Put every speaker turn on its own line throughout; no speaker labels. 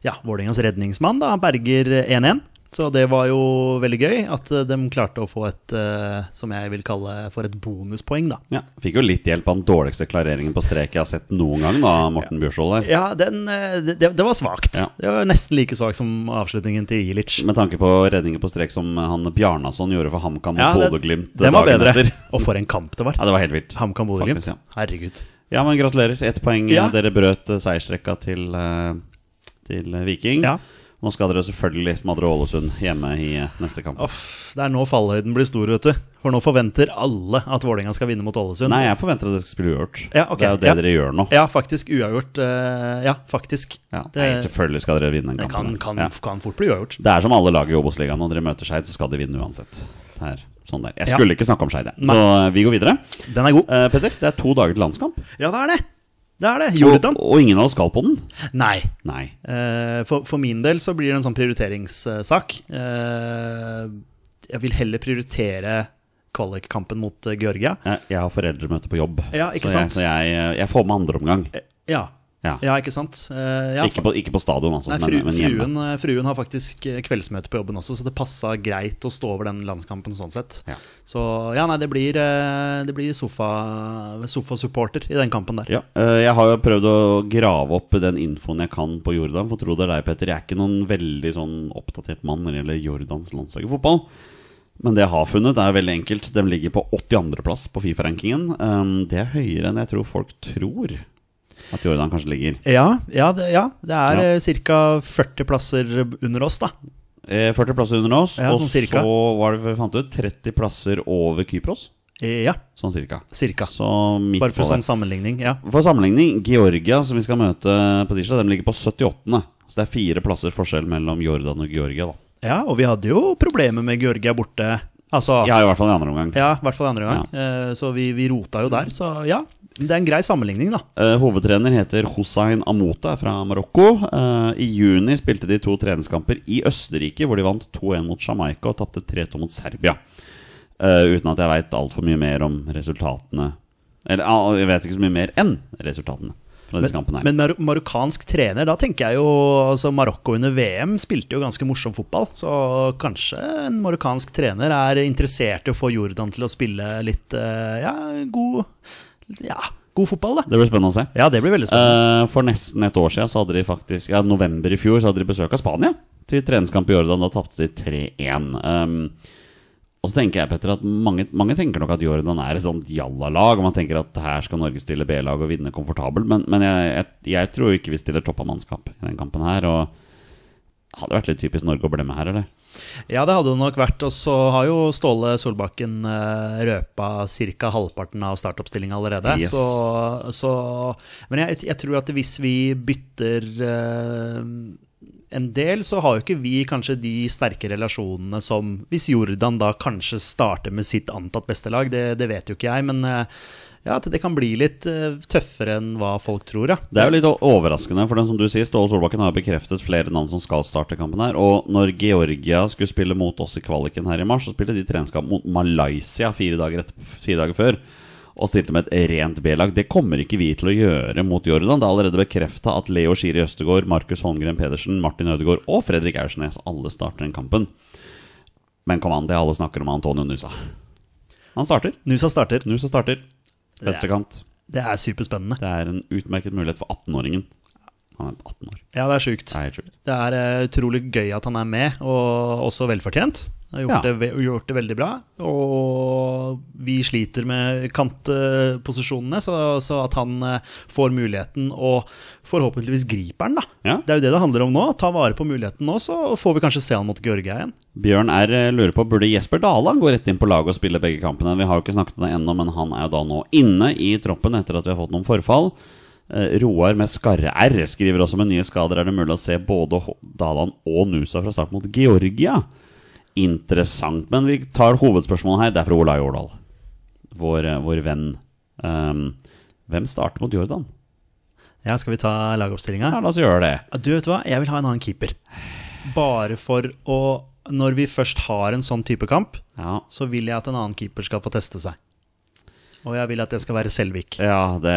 ja, Vålerengas redningsmann. Da. Han berger eh, 1-1. Så det var jo veldig gøy at eh, de klarte å få et, eh, som jeg vil kalle for et bonuspoeng, da.
Ja, Fikk jo litt hjelp av den dårligste klareringen på strek jeg har sett noen gang, da, Morten Bjørsvold der.
Ja, den, eh, det, det var svakt.
Ja.
Det var nesten like svakt som avslutningen til Ilic.
Med tanke på redninger på strek som han Bjarnason gjorde for HamKam
Ja,
mot
den-
Bodø-Glimt
Den var
dagen
bedre.
etter.
Og for en kamp det var.
Ja, det var helt vilt.
HamKam Bodø-Glimt.
Faktisk, ja.
Herregud.
Ja, men gratulerer. Ett poeng.
Ja.
Dere brøt eh, seiersrekka til, eh, til eh, Viking.
Ja.
Nå skal dere selvfølgelig smadre Ålesund hjemme i eh, neste kamp.
Uff, det er nå fallhøyden blir stor, vet du. For nå forventer alle at Vålerenga skal vinne mot Ålesund.
Nei, jeg forventer at dere skal spille uavgjort.
Ja, ok.
Det er jo det
Ja.
dere gjør nå.
Ja, faktisk. Uavgjort. eh, ja, faktisk.
Ja. Nei,
det
selvfølgelig skal dere vinne den
det kan,
kampen.
kan,
Ja.
kan fort bli uavgjort.
Det er som alle lag i Obos-ligaen. Når dere møter Skeid, så skal de vinne uansett. Det er sånn der. Jeg
Ja.
skulle ikke snakke om Skeid, jeg.
Nei.
Så eh, vi går videre.
Den er god.
Eh, Petter, det er to dager til landskamp.
Ja, det er det. Det er det.
Og,
Jordan?
og ingen av oss skal på den.
Nei.
Nei.
Eh, for, for min del så blir det en sånn prioriteringssak. Eh, jeg vil heller prioritere kvalikkampen mot eh, Georgia.
Jeg, jeg har foreldremøte på jobb,
Ja, ikke
så,
sant?
Jeg, så jeg, eh, jeg får med andre omgang.
Ja.
Ja.
Ja, ikke sant? Eh, ja,
Ikke, på, ikke på stadion, altså,
Nei, fru,
men, men hjemme.
fruen, fruen har faktisk eh, kveldsmøte på jobben også, så det passa greit å stå over den landskampen sånn sett.
Ja.
Så ja, nei, det blir, eh, det blir sofa, sofa-supporter i den kampen der.
Ja, eh, jeg har jo prøvd å grave opp den infoen jeg kan på Jordan. For tro det eller ei, Petter, jeg er ikke noen veldig sånn oppdatert mann når det gjelder Jordans landslag i fotball. Men det jeg har funnet, er veldig enkelt. De ligger på 82.-plass på Fifa-rankingen. Um, det er høyere enn jeg tror folk tror at Jordan kanskje ligger.
Ja, ja, det, ja, det
Ja.
er ca. 40 plasser under oss, da.
Eh, 40 plasser under oss,
Ja,
og
sånn cirka.
så var det vi fant ut 30 plasser over Kypros.
Eh, Ja,
Sånn cirka.
cirka.
Så midt
Bare
på
for
der.
sånn sammenligning. Ja.
For sammenligning, Georgia, som vi skal møte på tirsdag, de ligger på 78. Så det er fire plasser forskjell mellom Jordan og Georgia, da.
ja, og vi hadde jo problemer med Georgia borte. Altså
Ja, i hvert fall i andre omgang.
Ja, i hvert fall andre gang. Eh, Så vi, vi rota jo der. Så ja, det er en grei sammenligning, da.
Eh, hovedtrener heter Hossein Amota, er fra Marokko. Eh, I juni spilte de to treningskamper i Østerrike, hvor de vant 2-1 mot Jamaica og tapte 3-2 mot Serbia. Eh, uten at jeg veit altfor mye mer om resultatene Eller ah, jeg vet ikke så mye mer enn resultatene fra disse kampene. her
Men mar marokkansk trener, da tenker jeg jo altså Marokko under VM spilte jo ganske morsom fotball. Så kanskje en marokkansk trener er interessert i å få Jordan til å spille litt eh, ja, god, ja, god fotball, da.
Det blir spennende å se.
Ja, det blir veldig spennende.
Eh, for nesten et år siden, så hadde de faktisk ja, november i fjor, så hadde de besøk av Spania til treningskamp i Jordan. Da tapte de 3-1. Um, og så tenker jeg, Petter, at mange, mange tenker nok at Jordan er et sånt jalla-lag. Og man tenker at her skal Norge stille B-lag og vinne komfortabelt. Men, men jeg, jeg, jeg tror ikke vi stiller topp av mannskap i den kampen her. Og Hadde vært litt typisk Norge å bli med her, eller?
Ja, det hadde det nok vært. Og så har jo Ståle Solbakken eh, røpa ca. halvparten av startoppstillinga allerede.
Yes.
Så, så Men jeg, jeg tror at hvis vi bytter eh, en del, så har jo ikke vi kanskje de sterke relasjonene som Hvis Jordan da kanskje starter med sitt antatt beste lag, det, det vet jo ikke jeg, men eh, ja, at det kan bli litt eh, tøffere enn hva folk tror, ja.
Det er jo litt overraskende, for den som du sier, Ståle Solbakken har jo bekreftet flere navn som skal starte kampen her. Og når Georgia skulle spille mot oss i kvaliken her i mars, så spilte de treningskamp mot Malaysia fire dager, etter, fire dager før. Og stilte med et rent B-lag. Det kommer ikke vi til å gjøre mot Jordan. Det er allerede bekrefta at Leo Skiri Østegård, Markus Holmgren Pedersen, Martin Ødegaard og Fredrik Aursnes alle starter den kampen. Men kom an, det alle snakker om Antonio Nusa. Han starter.
Nusa starter.
Nusa starter.
Det er-
Venstrekant.
Det er superspennende.
Det er en utmerket mulighet for 18-åringen. Han er 18 år.
Ja, det er sjukt.
Det er helt sjukt.
Det er eh, utrolig gøy at han er med, og også velfortjent. Han Har gjort,
Ja.
det, ve- gjort det veldig bra. Og vi sliter med kantposisjonene, så, så at han eh, får muligheten, og forhåpentligvis griper den, da.
Ja.
Det er jo det det handler om nå. Ta vare på muligheten nå, så får vi kanskje se han mot Georgia igjen.
Bjørn R. lurer på burde Jesper Daland gå rett inn på laget og spille begge kampene. Vi har jo ikke snakket om det ennå, men han er jo da nå inne i troppen etter at vi har fått noen forfall. Eh, Roar med skarre-r skriver også med nye skader er det mulig å se både H- Daland og Nusa fra start mot Georgia. Interessant. Men vi tar hovedspørsmålet her. Det er fra Olai Årdal, vår, eh, vår venn. Ehm, hvem starter mot Jordan?
Ja, skal vi ta lagoppstillinga?
Ja, la oss gjøre det.
Ja, Du vet hva, jeg vil ha en annen keeper. Bare for å Når vi først har en sånn type kamp,
Ja,
så vil jeg at en annen keeper skal få teste seg. Og jeg vil at det skal være Selvik.
Ja, det,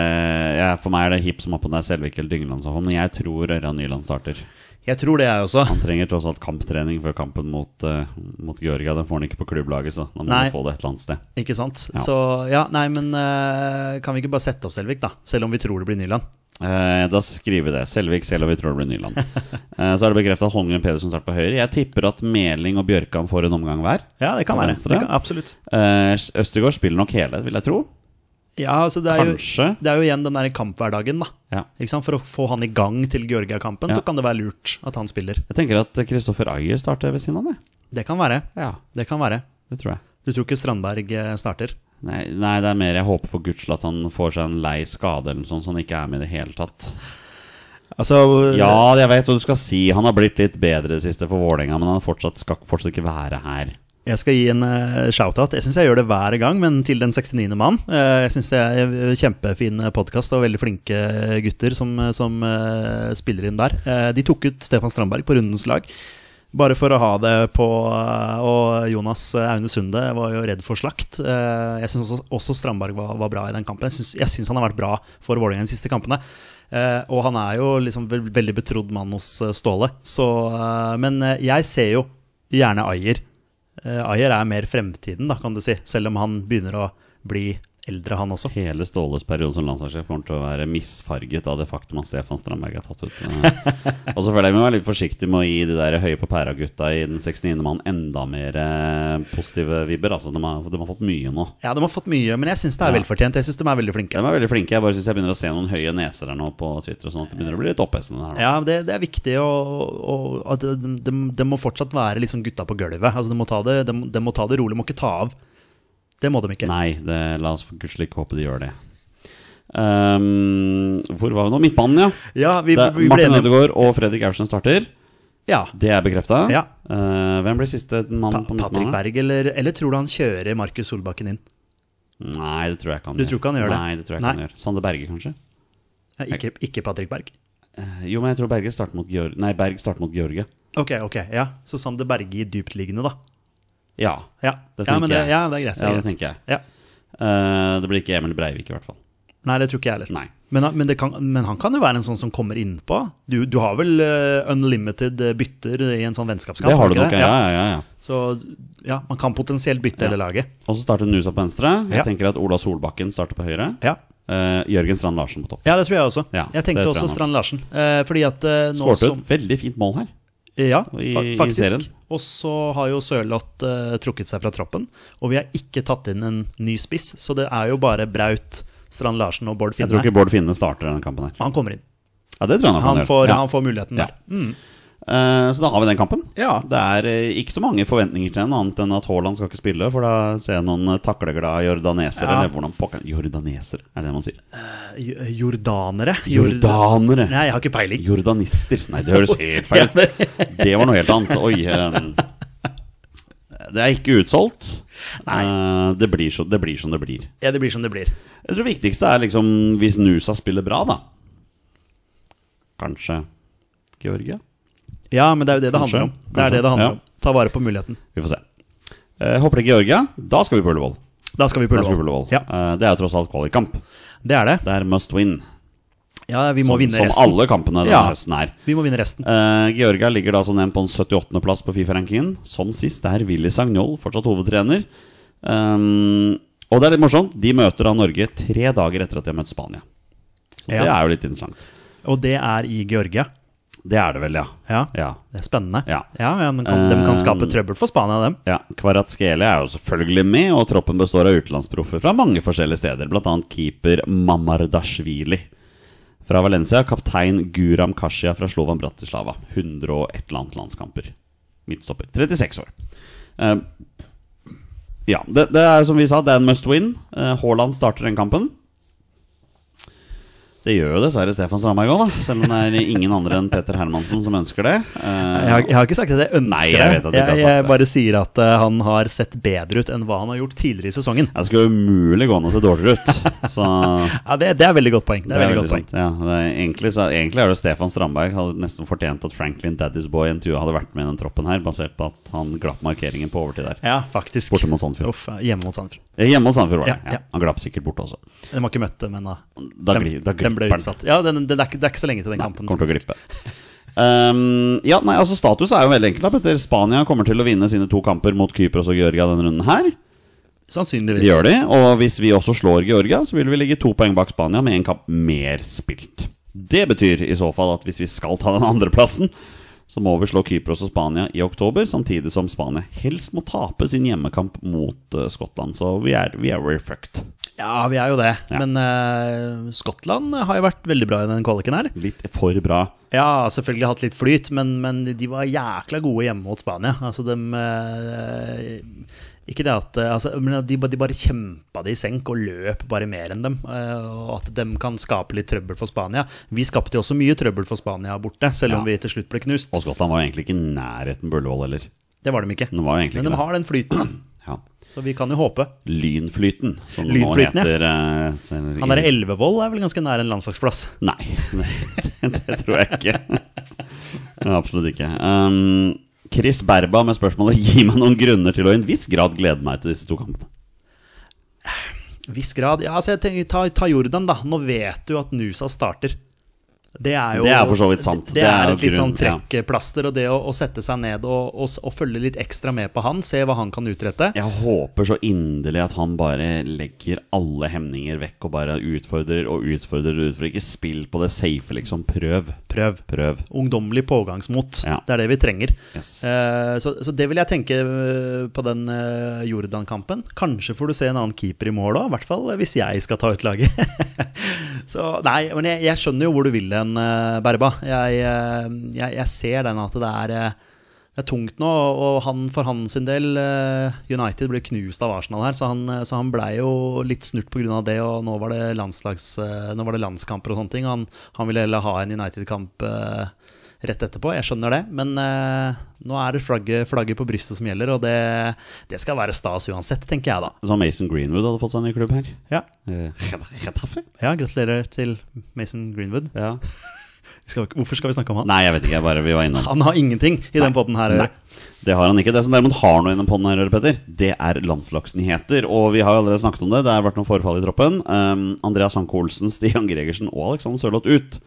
ja, for meg er det hipp som opp om det er Selvik eller Dyngeland som kommer, men jeg tror Ørjan Nyland starter.
Jeg tror det, jeg også.
Han trenger tross alt kamptrening før kampen mot, eh, mot Georgia. Den får han ikke på klubblaget, så da må
Nei.
han få det et eller annet sted.
Ikke sant?
Ja.
Så ja, nei, men eh, kan vi ikke bare sette opp Selvik, da? Selv om vi tror det blir Nyland.
Eh, da skriver vi det. Selvik, selv om vi tror det blir Nyland. Eh, så er det bekreftet at Holmgren Pedersen starter på høyre. Jeg tipper at Meling og Bjørkan får en omgang hver.
Ja, det kan
På
være.
venstre?
Det kan, absolutt.
Eh, Østegård spiller nok hele, vil jeg tro.
Ja, altså det er, jo,
Kanskje.
det er jo igjen den der kamphverdagen, da.
Ja.
Ikke sant? For å få han i gang til Georgia-kampen,
Ja.
så kan det være lurt at han spiller.
Jeg tenker at Kristoffer Ayer starter ved siden av det.
Det kan være.
Ja,
Det kan være.
det tror jeg.
Du tror ikke Strandberg eh, starter?
Nei, nei, det er mer jeg håper for gudsel at han får seg en lei skade eller noe sånt, så han ikke er med i det hele tatt.
Altså
Ja, jeg vet hva du skal si. Han har blitt litt bedre det siste for Vålerenga, men han fortsatt, skal fortsatt ikke være her.
Jeg skal gi en eh, shout-out. Jeg syns jeg gjør det hver gang, men til den 69. mann. Eh, jeg syns det er eh, kjempefin podkast og veldig flinke eh, gutter som, som eh, spiller inn der. Eh, de tok ut Stefan Strandberg på rundens lag. Bare for å ha det på eh, Og Jonas eh, Aune Sunde var jo redd for slakt. Eh, Jeg syns også, også Strandberg var, var bra i den kampen. Jeg synes- Jeg syns han har vært bra for Vålerenga de siste kampene. Eh, Og han er jo liksom vel- veldig betrodd mann hos eh, Ståle. Så, eh, men eh, jeg ser jo gjerne Ayer. Eh, Ayer er mer fremtiden, da, kan du si. Selv om han begynner å bli eldre, han også.
Hele Ståles periode som landslagssjef kommer til å være misfarget av det faktum at Stefan Strandberg er tatt ut. Eh, Og så føler jeg vi må være litt forsiktige med å gi de der høye på pæra-gutta i den 69. mann enda mer eh, positive vibber. Altså, de har, de har fått mye nå.
Ja, de har fått mye, men jeg syns det er
Ja.
velfortjent. Jeg syns de er veldig flinke.
De er veldig flinke. Jeg bare syns jeg begynner å se noen høye neser her nå på Twitter, og sånn at det begynner å bli litt opphetsende her nå.
Ja, det, det er viktig å, å, at de, de, de må fortsatt være liksom gutta på gulvet. Altså, de, må ta det, de, de må ta det rolig, de må ikke ta av. Det må de ikke.
Nei, det, la oss for gudskjelov ikke håpe de gjør det. Ehm, hvor var vi nå? Midtbanen, ja.
Ja, vi,
det,
vi ble
Martin
enige
Ødegaard og Fredrik Aursen starter.
ja.
Det er bekrefta.
Ja.
hvem blir siste mann
Pa
på midtbanen?
Patrick Berg, eller, eller tror du han kjører Markus Solbakken inn?
Nei, det tror jeg ikke han
Du tror ikke han gjør det?
Nei, det tror jeg
Nei.
ikke han gjør. Sande Berge, kanskje? Eh,
Nei, Ikke, ikke Patrick Berg.
Jo, men jeg tror Berge starter mot Georg... Nei, Berg starter mot Georgie.
Ok, ok, ja. Så Sander Berge i dyptliggende, da.
Ja.
Ja,
Det
ja, men
tenker
det,
jeg.
ja, det er greit.
Ja, det
det er greit.
tenker jeg.
Ja.
Eh, det blir ikke Emil Breivik, i hvert fall.
Nei, det tror ikke jeg heller.
Nei.
Men, han- men, det kan, men han kan jo være en sånn som kommer innpå. Du, du har vel eh, unlimited eh, bytter i en sånn vennskapskamp?
Det har du
ikke
nok, ja. ja, ja, ja.
Så ja, man kan potensielt bytte hele laget.
Og så starter Nusa på venstre. Jeg
Ja.
tenker at Ola Solbakken starter på høyre.
Ja.
Eh, Jørgen Strand Larsen på topp.
ja, det tror jeg også.
Ja,
jeg
det
tenkte
tror
også
jeg nok.
Strand Larsen. Eh, fordi at eh, nå
Skårte
som
ut veldig fint mål her.
Ja,
i-
fa
i serien.
faktisk. Og så har jo Sørloth eh, trukket seg fra troppen. Og vi har ikke tatt inn en ny spiss, så det er jo bare Braut, Strand Larsen og Bård
Jeg tror
Finne.
ikke Bård Finne starter denne kampen her.
Han kommer inn.
Ja, det tror jeg nok han,
Han
gjør.
får,
ja.
han får muligheten
Ja.
der. Mm.
Eh, Så da har vi den kampen.
Ja.
Det er eh, ikke så mange forventninger til den, annet enn at Haaland skal ikke spille, for da ser jeg noen eh, takleglade jordanesere.
Ja.
Eller hvordan pokker Jordanesere, er det det man sier?
J- Jordanere. Jord-
Jordanere!
Nei, jeg har ikke peiling.
Jordanister. Nei, det høres helt feil ut. Det var noe helt annet. Oi. eh, Det er ikke utsolgt. Eh, Det blir, så, det blir som det blir.
Ja, det blir som det blir.
Jeg tror det viktigste er liksom hvis Nusa spiller bra, da. Kanskje Georgia?
Ja, men det er jo det det handler om.
Kanskje.
Det er det det handler
Ja.
om. Ta vare på muligheten.
Vi får se. Eh, Håper det er Georgia. Da skal vi på Ullevål.
Da skal vi
Da skal vi på
pulle
Ullevål.
Ja,
Eh, Det er jo tross alt kvalikkamp.
det er det.
Det er must win.
Ja, vi må
Som,
vinne
som
resten.
alle kampene denne
Ja.
høsten er.
Vi må vinne resten.
Eh, Georgia ligger da som nevnt på en 78. plass på Fifa-rankingen. Som sist er Willy Sagnol fortsatt hovedtrener. Ehm, og det er litt morsomt, de møter da Norge tre dager etter at de har møtt Spania. Så
Ja.
det er jo litt interessant.
Og det er i Georgia.
Det er det vel, ja.
Ja,
Ja,
det er spennende.
Ja.
ja, Um, ja men kan, de kan skape trøbbel for Spania, dem.
ja. Kvaratskhelia er jo selvfølgelig med, og troppen består av utenlandsproffer fra mange forskjellige steder, bl.a. keeper Mamardashvili fra Valencia, kaptein Guram Kashia fra Slovan Bratislava. 100 og et eller annet landskamper. Midtstopper. 36 år. Eh, ja, det, det er som vi sa, det er en must win. Eh, Haaland starter den kampen. Det gjør jo dessverre Stefan Strandberg òg, da. Selv om det er ingen andre enn Peter Hermansen som ønsker det. Eh,
Jeg har, jeg har ikke sagt at jeg ønsker
Nei, jeg vet at du
det.
ikke har
Jeg,
sagt
jeg
det.
bare sier at eh, han har sett bedre ut enn hva han har gjort tidligere i sesongen.
Jeg skulle umulig gå an å se dårligere ut. Så
Ja, Det, det er veldig godt poeng. Det er veldig godt poeng.
sant. Ja, det er egentlig, så, egentlig er det Stefan Strandberg hadde nesten fortjent at Franklin Daddy's Boy intervjuet hadde vært med i den troppen her, basert på at han glapp markeringen på overtid der.
Ja, faktisk.
Borte mot Sandefjord.
Uff, hjemme mot Sandefjord.
Eh, Hjemme hos Sandefjord var det.
Ja,
Ja,
ja.
han glapp sikkert borte også.
De har ikke møtt det, men da,
Da gli- da
den ble
glipper den.
utsatt. Ja, den, den, det, er ikke, det er ikke så lenge til den kampen.
Kommer til å
faktisk.
glippe. Um, ja, nei, altså Status er jo veldig enkel. da, Petter. Spania kommer til å vinne sine to kamper mot Kypros og Georgia denne runden her.
Sannsynligvis.
Det gjør de. Og hvis vi også slår Georgia, så vil vi ligge to poeng bak Spania med en kamp mer spilt. Det betyr i så fall at hvis vi skal ta den andreplassen, så må vi slå Kypros og Spania i oktober, samtidig som Spania helst må tape sin hjemmekamp mot eh, Skottland. Så vi er, vi er we're fucked.
Ja, vi er jo det.
Ja.
Men eh, Skottland har jo vært veldig bra i den kvaliken her.
Litt for bra.
Ja, selvfølgelig hatt litt flyt, men, men de var jækla gode hjemme mot Spania. Altså, de eh, Ikke det at eh, altså, men de, ba- de bare kjempa det i senk og løp bare mer enn dem. eh, Og at de kan skape litt trøbbel for Spania. Vi skapte jo også mye trøbbel for Spania borte, selv om
Ja.
vi til slutt ble knust.
Og Skottland var jo egentlig ikke i nærheten på Ullevål heller.
Det var de ikke.
Den var jo egentlig
men de
ikke det.
har den flyten,
Ja.
da. Så vi kan jo håpe.
Lynflyten, som
Lynflyten,
nå
ja.
heter eh,
Han derre Elvevold er vel ganske nær en landslagsplass.
Nei, det, det tror jeg ikke. Ja, Absolutt ikke. Um, Chris Berba med spørsmålet Gi meg noen grunner til å i en viss grad glede meg til disse to kampene.
Viss grad. Ja, altså, jeg tenker, ta, ta Jordan, da. Nå vet du at Nusa starter. Det er jo
Det er for så vidt sant.
Det,
Det er
er
jo
et litt sånn
grunn- ja.
trekkplaster. Og det å, å sette seg ned og, og, s- og følge litt ekstra med på han, se hva han kan utrette.
Jeg håper så inderlig at han bare legger alle hemninger vekk og bare utfordrer og utfordrer og utfordrer. Ikke spill på det safe, liksom. Prøv.
Prøv.
Prøv.
Ungdommelig pågangsmot.
Ja.
Det er det vi trenger.
Yes.
Eh, så, så det vil jeg tenke eh, på den eh, Jordan-kampen. Kanskje får du se en annen keeper i mål òg, i hvert fall hvis jeg skal ta ut laget. så nei, men jeg, jeg skjønner jo hvor du vil hen, eh, Berba. Jeg, eh, jeg, jeg ser den at det er eh, det er tungt nå, og han for hans sin del eh, United ble knust av Arsenal her, så han, eh, så han blei jo litt snurt pga. det. Og nå var det, landslags, eh, nå var det landskamper og sånne ting. og Han, han ville heller ha en United-kamp eh, rett etterpå, jeg skjønner det. Men eh, nå er det flagget, flagget på brystet som gjelder, og det, det skal være stas uansett, tenker jeg da.
Så Mason Greenwood hadde fått seg en ny klubb her.
Ja,
Eh, Getafe?
ja gratulerer til Mason Greenwood.
Ja.
Vi Skal, hvorfor skal vi snakke om han?
Nei, jeg vet ikke. Jeg bare vi var innom.
Han har ingenting i den poden her å gjøre.
Nei, det har han ikke. Det som derimot har noe innom hånden, her, Røde Petter, det er landslagsnyheter. Og vi har jo allerede snakket om det. Det har vært noen forfall i troppen. Um, Andreas Hanke Olsen, Stian Gregersen og Alexander Sørloth ut.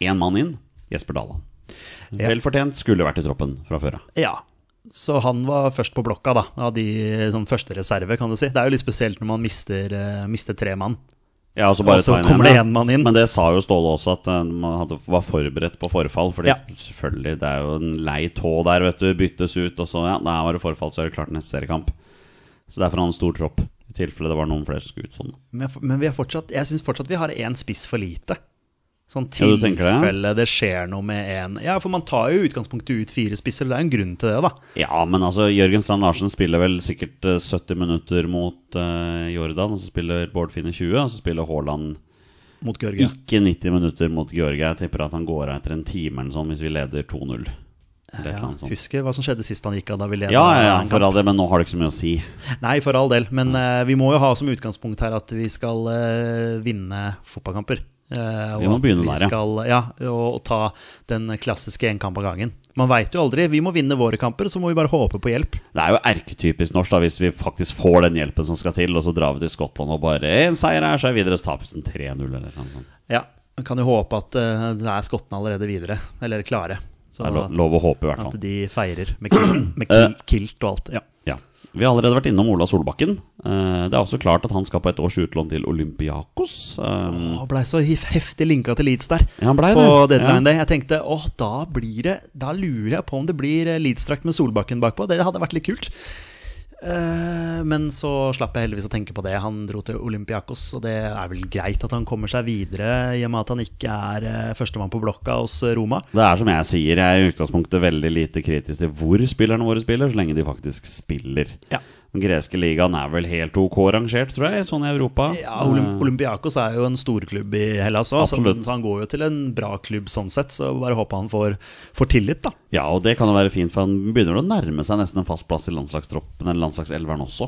Én mann inn. Jesper Daland.
Ja.
Vel fortjent. Skulle vært i troppen fra før av.
Ja. Så han var først på blokka, da. Av de som første reserve, kan du si. Det er jo litt spesielt når man mister, eh, mister tre mann.
Ja, og så bare
Og så
ta inn
kommer det
ja.
en mann inn.
Men det sa jo Ståle også, at eh, man hadde, var forberedt på forfall. Fordi
Ja.
selvfølgelig, det er jo en lei tå der, vet du. Byttes ut, og så ja, der var det forfall, så er det klart neste seriekamp. Så derfor har han en stor tropp. I tilfelle det var noen flere som skulle ut sånn.
Men, jeg- men vi er fortsatt, jeg syns fortsatt vi har én spiss for lite. Sånn
Ja, du tenker det, ja?
tilfelle det skjer noe med en Ja, for man tar jo i utgangspunktet ut fire spisser, det er en grunn til det, da.
Ja, men altså, Jørgen Strand Larsen spiller vel sikkert eh, 70 minutter mot eh, Jordan, og så spiller Bård Finne 20, og så spiller Haaland
Mot Georgia.
ikke 90 minutter mot Georgia. Jeg tipper at han går av etter en time eller sånn hvis vi leder 2-0. Eller et eller
Ja,
annet sånt.
husker hva som skjedde sist han gikk av da vi ledet
Ja, ja, ja,
en kamp.
for all det, men nå har det ikke så mye å si.
Nei, for all del. Men eh, vi må jo ha som utgangspunkt her at vi skal eh, vinne fotballkamper. Eh, og
Vi må
at
begynne der, ja.
skal, ja. og, og ta den klassiske én kamp av gangen. Man veit jo aldri. Vi må vinne våre kamper, så må vi bare håpe på hjelp.
Det er jo erketypisk norsk da, hvis vi faktisk får den hjelpen som skal til, og så drar vi til Skottland og bare En seier her, så er vi videre, så taper vi sånn 3-0 eller noe sånt.
Ja, Man kan jo håpe at eh, det er skottene allerede videre, eller klare. Så
Det er lo- lov å håpe, i hvert
at
fall.
de feirer med, kil, med kil, kilt og alt. Ja.
Ja. Vi har allerede vært innom Ola Solbakken. Eh, Det er også klart at han skal på et års utlån til Olympiakos. Eh,
Å, Blei så hif- heftig linka til Leeds der.
Ja, han ble
på
det.
deadline
Ja.
day. Jeg tenkte åh, da blir det Da lurer jeg på om det blir eh, Leeds-drakt med Solbakken bakpå. Det hadde vært litt kult. Eh, Men så slapp jeg heldigvis å tenke på det. Han dro til Olympiakos, og det er vel greit at han kommer seg videre, i og med at han ikke er eh, førstemann på blokka hos eh, Roma.
Det er som jeg sier, jeg er i utgangspunktet veldig lite kritisk til hvor spillerne våre spiller, så lenge de faktisk spiller.
Ja.
Den greske ligaen er vel helt OK rangert, tror jeg, sånn i Europa.
Ja, Olymp Olympiakos er jo en storklubb i Hellas òg, så,
Absolutt.
så han går jo til en bra klubb sånn sett. Så bare håper han får, får tillit, da.
Ja, og det kan jo være fint, for han begynner å nærme seg nesten en fast plass i landslagstroppen, eller landslagselveren også.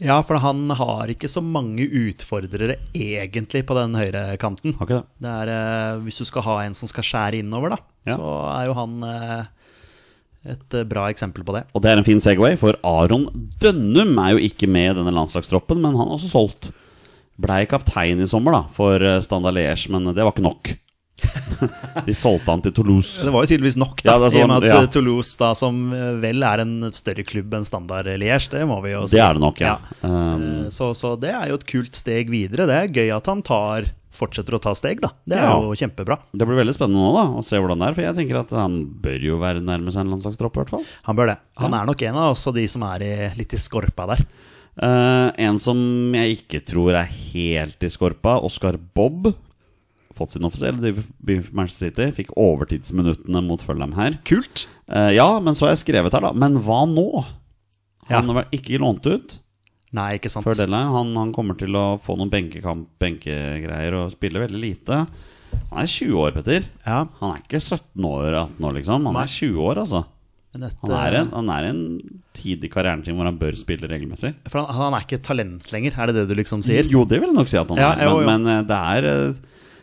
Ja, for han har ikke så mange utfordrere egentlig på den høyrekanten.
Har ikke det?
Det er, eh, hvis du skal ha en som skal skjære innover, da,
Ja.
så er jo han eh, et eh, bra eksempel på det.
Og det er en fin Segway, for Aron Dønnum er jo ikke med i denne landslagstroppen, men han er også solgt. Blei kaptein i sommer, da, for eh, Standard Liège, men det var ikke nok. De solgte han til Toulouse.
Det var jo tydeligvis nok, da,
Ja, det er
i og med
sånn,
at
ja.
eh, Toulouse, da, som eh, vel er en større klubb enn standard Liège, det må vi jo si.
Det er det nok, ja. Um,
Eh, Så, så det er jo et kult steg videre. Det er gøy at han tar, fortsetter å ta steg, da. Det er
Ja.
jo kjempebra.
Det blir veldig spennende nå da, å se hvordan det er. For jeg tenker at han bør jo være nærme seg en landslagstropp, i hvert fall.
Han bør det. Han er nok en av også de som er i, litt i skorpa der.
Eh, en som jeg ikke tror er helt i skorpa, Oscar Bob. Fått sin offisielle debut for Manchester City. Fikk overtidsminuttene mot Fulham her.
Kult.
Eh, ja, men så har jeg skrevet her, da. Men hva nå? Han
Ja.
var ikke lånt ut
Nei, ikke sant.
før deadline. Han, han kommer til å få noen benkekamp, benkegreier og spille veldig lite. Han er 20 år, Petter.
Ja,
Han er ikke 17 år, 18 år, liksom. Han
Nei.
er 20 år, altså.
men et, eh,
Han er, en, han er en tid i karrieren sin hvor han bør spille regelmessig.
eh, For han, han er ikke et talent lenger, er det det du liksom sier?
Jo, det vil jeg nok si at han
Ja,
er,
jo, jo.
men, men eh, det er eh,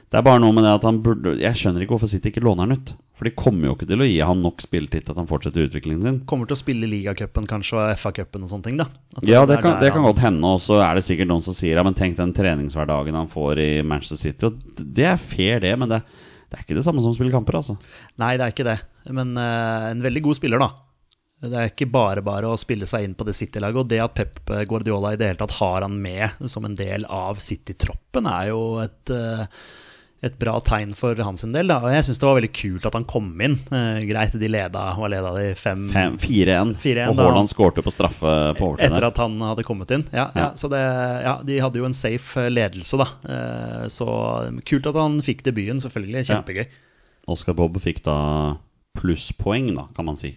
Det er bare noe med det at han burde Jeg skjønner ikke hvorfor City ikke låner han ut. For de kommer jo ikke til å gi han nok spilletid til at han fortsetter utviklingen sin.
Kommer til å spille ligacupen kanskje, og FA-cupen og sånne ting, da. At
Ja,
er
det kan,
der
det kan
han-
godt hende, og så er det sikkert noen som sier ja, men tenk den treningshverdagen han får i Manchester City. Og det er fair, det, men det, det er ikke det samme som å spille kamper, altså.
Nei, det er ikke det. Men eh, en veldig god spiller, da. Det er ikke bare bare å spille seg inn på det City-laget. Og det at Pep eh, Guardiola i det hele tatt har han med som en del av City-troppen, er jo et, eh, et bra tegn for hans del. Da. Og jeg syns det var veldig kult at han kom inn. Eh, greit, de leda, hva leda de? Fem,
Fem- 4-1,
4-1
og
Mm. da.
Haaland skårte på straffe på overtid.
Etter
der.
at han hadde kommet inn. Ja, ja.
Ja.
så det, ja, de hadde jo en safe eh, ledelse, da. Eh, Så kult at han fikk debuten, selvfølgelig. Kjempegøy.
Oscar Bob fikk da plusspoeng, da, kan man si.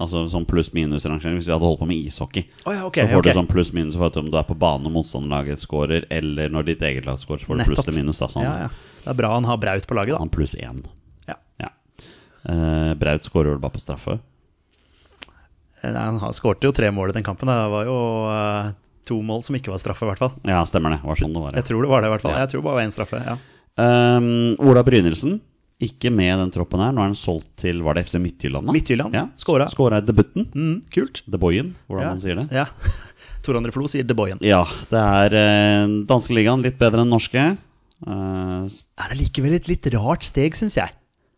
Altså sånn pluss-minus-rangering. Hvis vi hadde holdt på med ishockey,
Å ja, ok,
så får
ok.
du sånn pluss-minus for at om du er på banen og motstanderlaget scorer, eller når ditt eget lag scorer, så får du
Nettopp.
pluss til minus. da sånn.
Ja, ja. Det er bra han har Braut på laget, da.
Han pluss én.
Ja.
Ja. Eh, Braut scorer vel bare på straffe.
Nei, Eh, han har- skårte jo tre mål i den kampen. da. Det var jo eh, to mål som ikke var straffe, i hvert fall.
Ja, stemmer det. Var sånn det var. Ja.
Jeg tror det var det, i hvert fall.
Ja.
Jeg tror bare det var én straffe. ja.
Ehm, Ola Brynildsen, ikke med den troppen her. Nå er han solgt til var det FC Midtjylland? da?
Midtjylland.
Ja.
Skåra.
Skåra i debuten.
Mm, kult.
The Boyen, hvordan
Ja.
man sier det.
Ja. Tor André Flo sier De Boyen.
Ja, det er eh, danskeligaen litt bedre enn norske. Eh, s-
Er allikevel et litt rart steg, syns jeg.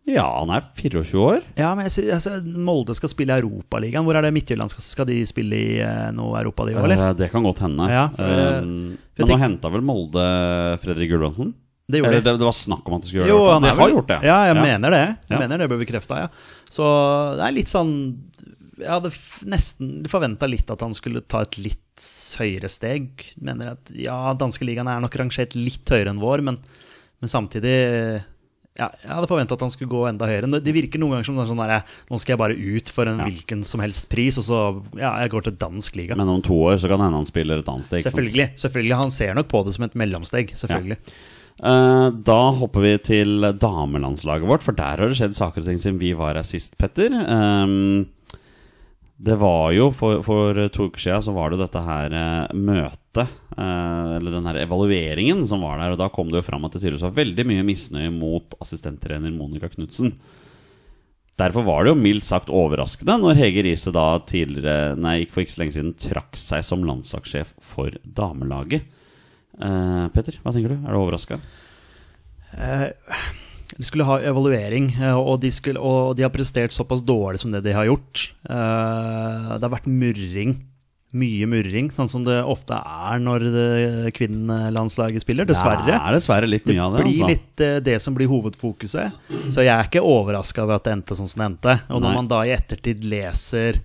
ja, han er 24 år.
Ja, men jeg sy- altså, Molde skal spille i Europaligaen. Hvor er det Midtjylland skal, skal de spille i eh, noe Europa, de òg, eller?
Eh, det kan godt hende.
Ja, for, eh,
Eh,
for
men
jeg
nå henta vel Molde eh, Fredrik Gulbrandsen?
Det gjorde
Eller
de.
det, det var snakk om at de skulle gjøre
Jo,
det. i hvert fall.
han er
de har
vel-
gjort det.
Ja, jeg mener det. Jeg
Ja.
mener det ble bekrefta, ja. Så det er litt sånn Jeg hadde f- nesten forventa litt at han skulle ta et litt høyere steg. Mener at ja, danskeligaen er nok rangert litt høyere enn vår, men, men samtidig ja, jeg hadde forventa at han skulle gå enda høyere. Men Det virker noen ganger som det er sånn der, nå skal jeg bare ut for en
Ja.
hvilken som helst pris, og så ja, jeg går til dansk liga.
Men om to år så kan det hende han spiller et annet sted. ikke sånn. sant?
selvfølgelig, selvfølgelig. Han ser nok på det som et mellomsteg. Selvfølgelig.
Eh, Da hopper vi til damelandslaget vårt, for der har det skjedd saker og ting siden vi var her sist, Petter. Ehm, det var jo for, for to uker siden så var det jo dette her eh, møtet, eh, eller den her evalueringen som var der, og da kom det jo fram at det tydeligvis var veldig mye misnøye mot assistenttrener Monica Knutsen. Derfor var det jo mildt sagt overraskende når Hege Riise da tidligere, nei, ikke for ikke så lenge siden trakk seg som landslagssjef for damelaget. Eh, Petter, hva tenker du? Er du overraska?
Eh, De skulle ha evaluering, eh, og de, skulle, og de har prestert såpass dårlig som det de har gjort. Eh, Det har vært murring. Mye murring, sånn som det ofte er når det kvinnelandslaget spiller,
Det
dessverre.
er dessverre litt mye av det.
blir
altså.
litt eh, det som blir hovedfokuset. Så jeg er ikke overraska over at det endte sånn som det endte. Og
Nei.
når man da i ettertid leser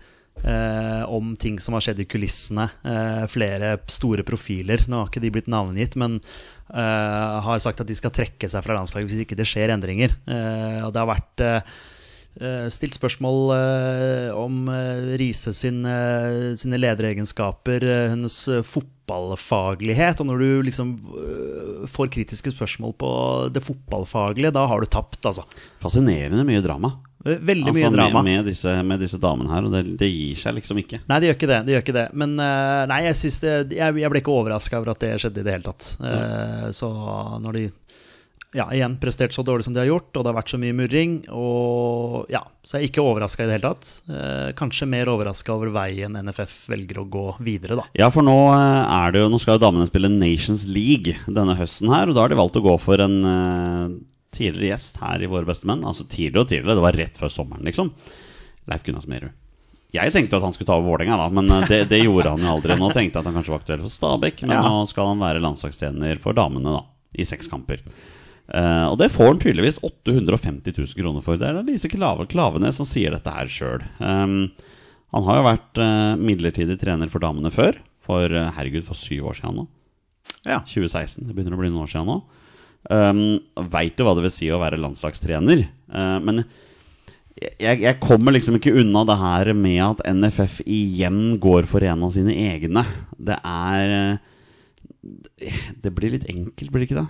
eh, om ting som har skjedd i kulissene, eh, flere store profiler Nå har ikke de blitt navngitt, men eh, har sagt at de skal trekke seg fra landslaget hvis ikke det skjer endringer. Eh, og det har vært eh, eh, stilt spørsmål eh, om eh, Riise sin, eh, sine lederegenskaper, eh, hennes eh, fotballfaglighet. Og når du liksom eh, får kritiske spørsmål på det fotballfaglige, da har du tapt, altså.
Fascinerende mye drama.
Eh, Veldig
Altså,
mye drama.
Med, med, disse, med disse damene her, og det, det gir seg liksom ikke.
Nei, det gjør ikke det. det, gjør ikke det. Men eh, nei, jeg, synes det, jeg, jeg ble ikke overraska over at det skjedde i det hele tatt. Eh, Så når de ja, igjen prestert så dårlig som de har gjort, og det har vært så mye murring og ja, Så jeg er ikke overraska i det hele tatt. Eh, Kanskje mer overraska over veien NFF velger å gå videre, da.
Ja, for nå eh, er det jo Nå skal jo damene spille Nations League denne høsten her, og da har de valgt å gå for en eh, tidligere gjest her i Våre beste menn. Altså tidligere og tidligere, det var rett før sommeren, liksom. Leif Gunnar Smerud. Jeg tenkte at han skulle ta over Vålerenga, da, men eh, det, det gjorde han jo aldri. Nå tenkte jeg at han kanskje var aktuell for Stabæk, men
Ja.
nå skal han være landslagstrener for damene, da. I seks kamper. Eh, og det får han tydeligvis 850 000 kroner for. Det er da Lise Klave Klavenes som sier dette her Ehm, sjøl. han har jo vært eh, midlertidig trener for damene før. For eh, herregud, for syv år siden nå.
Ja.
2016. Det begynner å bli noen år siden nå. Um, Veit jo hva det vil si å være landslagstrener. eh, men jeg, jeg kommer liksom ikke unna det her med at NFF igjen går for en av sine egne. Det er eh, Det blir litt enkelt, blir det ikke det?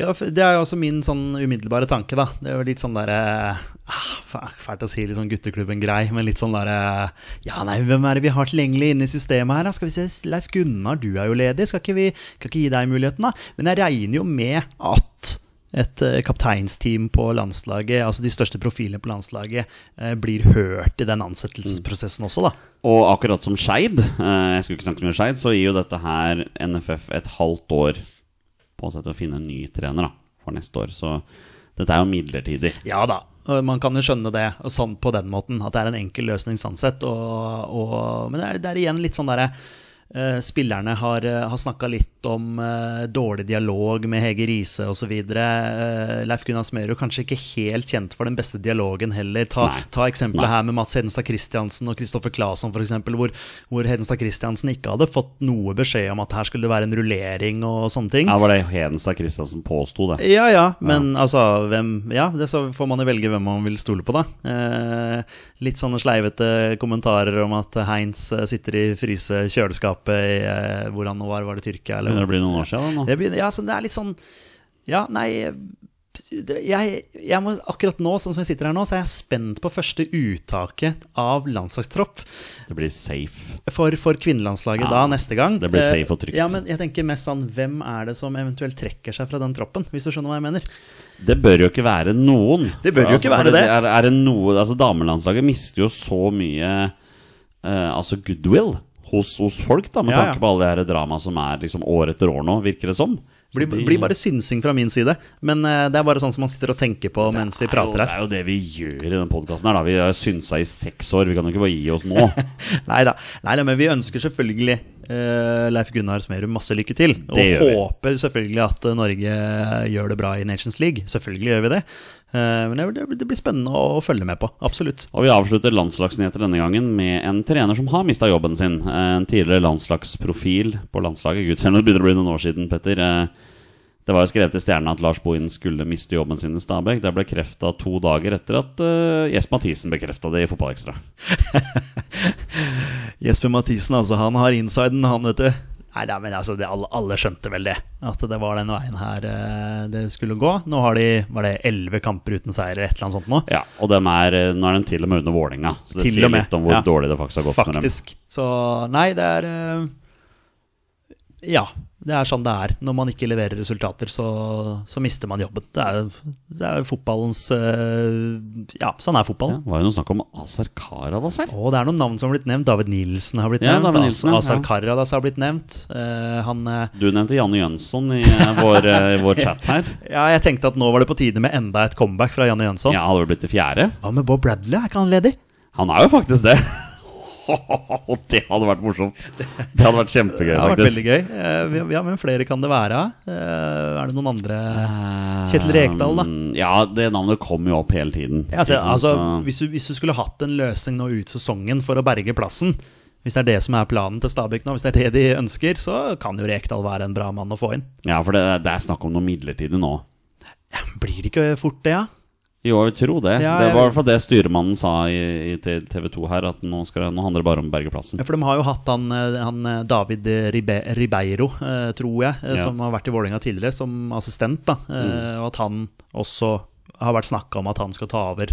Ja, for Det er jo også min sånn umiddelbare tanke. da Det er jo litt sånn derre ah, fæ- Fælt å si litt sånn gutteklubben-grei, men litt sånn derre Ja, nei, hvem er det vi har tilgjengelig inne i systemet her? da? Skal vi se, Leif Gunnar, du er jo ledig. Skal ikke vi skal ikke gi deg muligheten, da? Men jeg regner jo med at et eh, kapteinsteam på landslaget, altså de største profilene på landslaget, eh, blir hørt i den ansettelsesprosessen også, da.
Og akkurat som Skeid, eh, jeg skulle ikke snakke så mye om Skeid, så gir jo dette her NFF et halvt år på seg til å finne en ny trener da, for neste år. Så dette er jo midlertidig.
Ja da. og Man kan jo skjønne det og sånn på den måten, at det er en enkel løsning sånn sett. Og, og, men det er, det er igjen litt sånn derre eh, Spillerne har, eh, har snakka litt om eh, dårlig dialog med Hege Riise osv. Uh, Leif Gunnar Smerud kanskje ikke helt kjent for den beste dialogen heller. Ta,
Nei.
ta eksempelet
Nei.
her med Mats Hedenstad Christiansen og Kristoffer Claesson f.eks., hvor, hvor Hedenstad Christiansen ikke hadde fått noe beskjed om at her skulle det være en rullering og sånne ting.
Ja, det var det Hedenstad Christiansen påsto, det.
Ja, ja, men altså hvem, Ja, det så får man jo velge hvem man vil stole på, da. Eh, litt sånne sleivete kommentarer om at Heinz eh, sitter i frysekjøleskapet i eh, Hvor han nå var, var det Tyrkia,
Det begynner
eller?
å bli noen år siden da, nå.
Det begynner, ja, så det er litt sånn Ja, nei det, jeg, jeg må, akkurat nå, sånn som jeg sitter her nå, så er jeg spent på første uttaket av landslagstropp
Det blir safe.
for, for kvinnelandslaget
Ja,
da neste gang.
det blir
Eh,
safe og trygt.
Ja, men jeg tenker mest sånn Hvem er det som eventuelt trekker seg fra den troppen, hvis du skjønner hva jeg mener?
Det bør jo ikke være noen. Altså,
Det bør jo ikke være
for
det.
Er, er det noe, altså Damelandslaget mister jo så mye eh, altså goodwill hos, hos folk, da, med
Ja, ja.
tanke på alle de her drama som er liksom år etter år nå, virker det som. Så
Blir,
de-
blir bare synsing fra min side. Men eh, det er bare sånn som man sitter og tenker på mens vi prater
Det
her.
er jo det vi gjør i den podkasten her, da. Vi har synsa i seks år, vi kan jo ikke bare gi oss nå.
Nei da. men vi ønsker selvfølgelig eh, Leif Gunnar Smerud masse lykke til. Og
Det gjør vi.
håper selvfølgelig at eh, Norge gjør det bra i Nations League. Selvfølgelig gjør vi det. Eh, men det, det blir spennende å følge med på. Absolutt.
Og vi avslutter landslagsnyheter denne gangen med en trener som har mista jobben sin. En tidligere landslagsprofil på landslaget. Gud, selv om det begynner å bli noen år siden, Petter. eh, Det var jo skrevet i Stjernen at Lars Bohin skulle miste jobben sin i Stabæk. Det ble krefta to dager etter at uh, Jesper Mathisen bekrefta det i Fotballekstra.
Jesper Mathisen, altså. Han har insiden, han, vet du. Nei, nei, men altså, det, alle, alle skjønte vel det. At det var den veien her eh, det skulle gå. Nå har de var det elleve kamper uten seier eller et eller annet sånt nå.
Ja, og dem er, eh, nå er de til og med under Vålinga Så det
Til
sier
og med,
litt om hvor
ja.
dårlig det faktisk har gått med dem.
Faktisk. Så nei, det er eh, Ja. Det er sånn det er. Når man ikke leverer resultater, så, så mister man jobben. Det er, det er fotballens eh, Ja, sånn er
Ja,
fotballen.
det var jo noe snakk om Azar Karadas her.
Og det er noen navn som har blitt nevnt. David Nilsen har blitt
Ja,
nevnt.
David Nielsen, ja.
As- Asar Karadas har blitt nevnt. Eh, han eh,
Du nevnte Janne Jønsson i eh, vår, eh, vår chat her.
Ja, jeg tenkte at nå var det på tide med enda et comeback fra Janne Jønsson.
Ja, hadde vel blitt det fjerde.
Hva med Bob Bradley? Er ikke han leder?
Han er jo faktisk det. Og det hadde vært morsomt. Det hadde vært kjempegøy,
Det har vært
faktisk.
veldig gøy. Eh, vi- Ja, Hvem flere kan det være? Eh, Er det noen andre Eh, Kjetil Rekdal, da.
Um, Ja, det navnet kom jo opp hele tiden.
Ja,
Ikke
altså,
sant?
altså,
Så-
hvis, du, hvis du skulle hatt en løsning nå ut sesongen for å berge plassen Hvis det er det som er planen til Stabæk nå, hvis det er det de ønsker, så kan jo Rekdal være en bra mann å få inn.
ja, for det, det er snakk om noe midlertidig nå.
Blir det ikke fort det, ja?
Jo, jeg vil tro det.
Ja,
det
jeg-
var i hvert fall det styremannen sa i, i TV 2 her, at nå, skal, det- nå handler det bare om Bergeplassen.
Ja, For de har jo hatt han, eh, han eh, David Ribe Ribeiro, eh, tror jeg, eh,
Ja. Mm.
som har vært i Vålerenga tidligere, som assistent. da Eh, Og at han også har vært snakka om at han skal ta over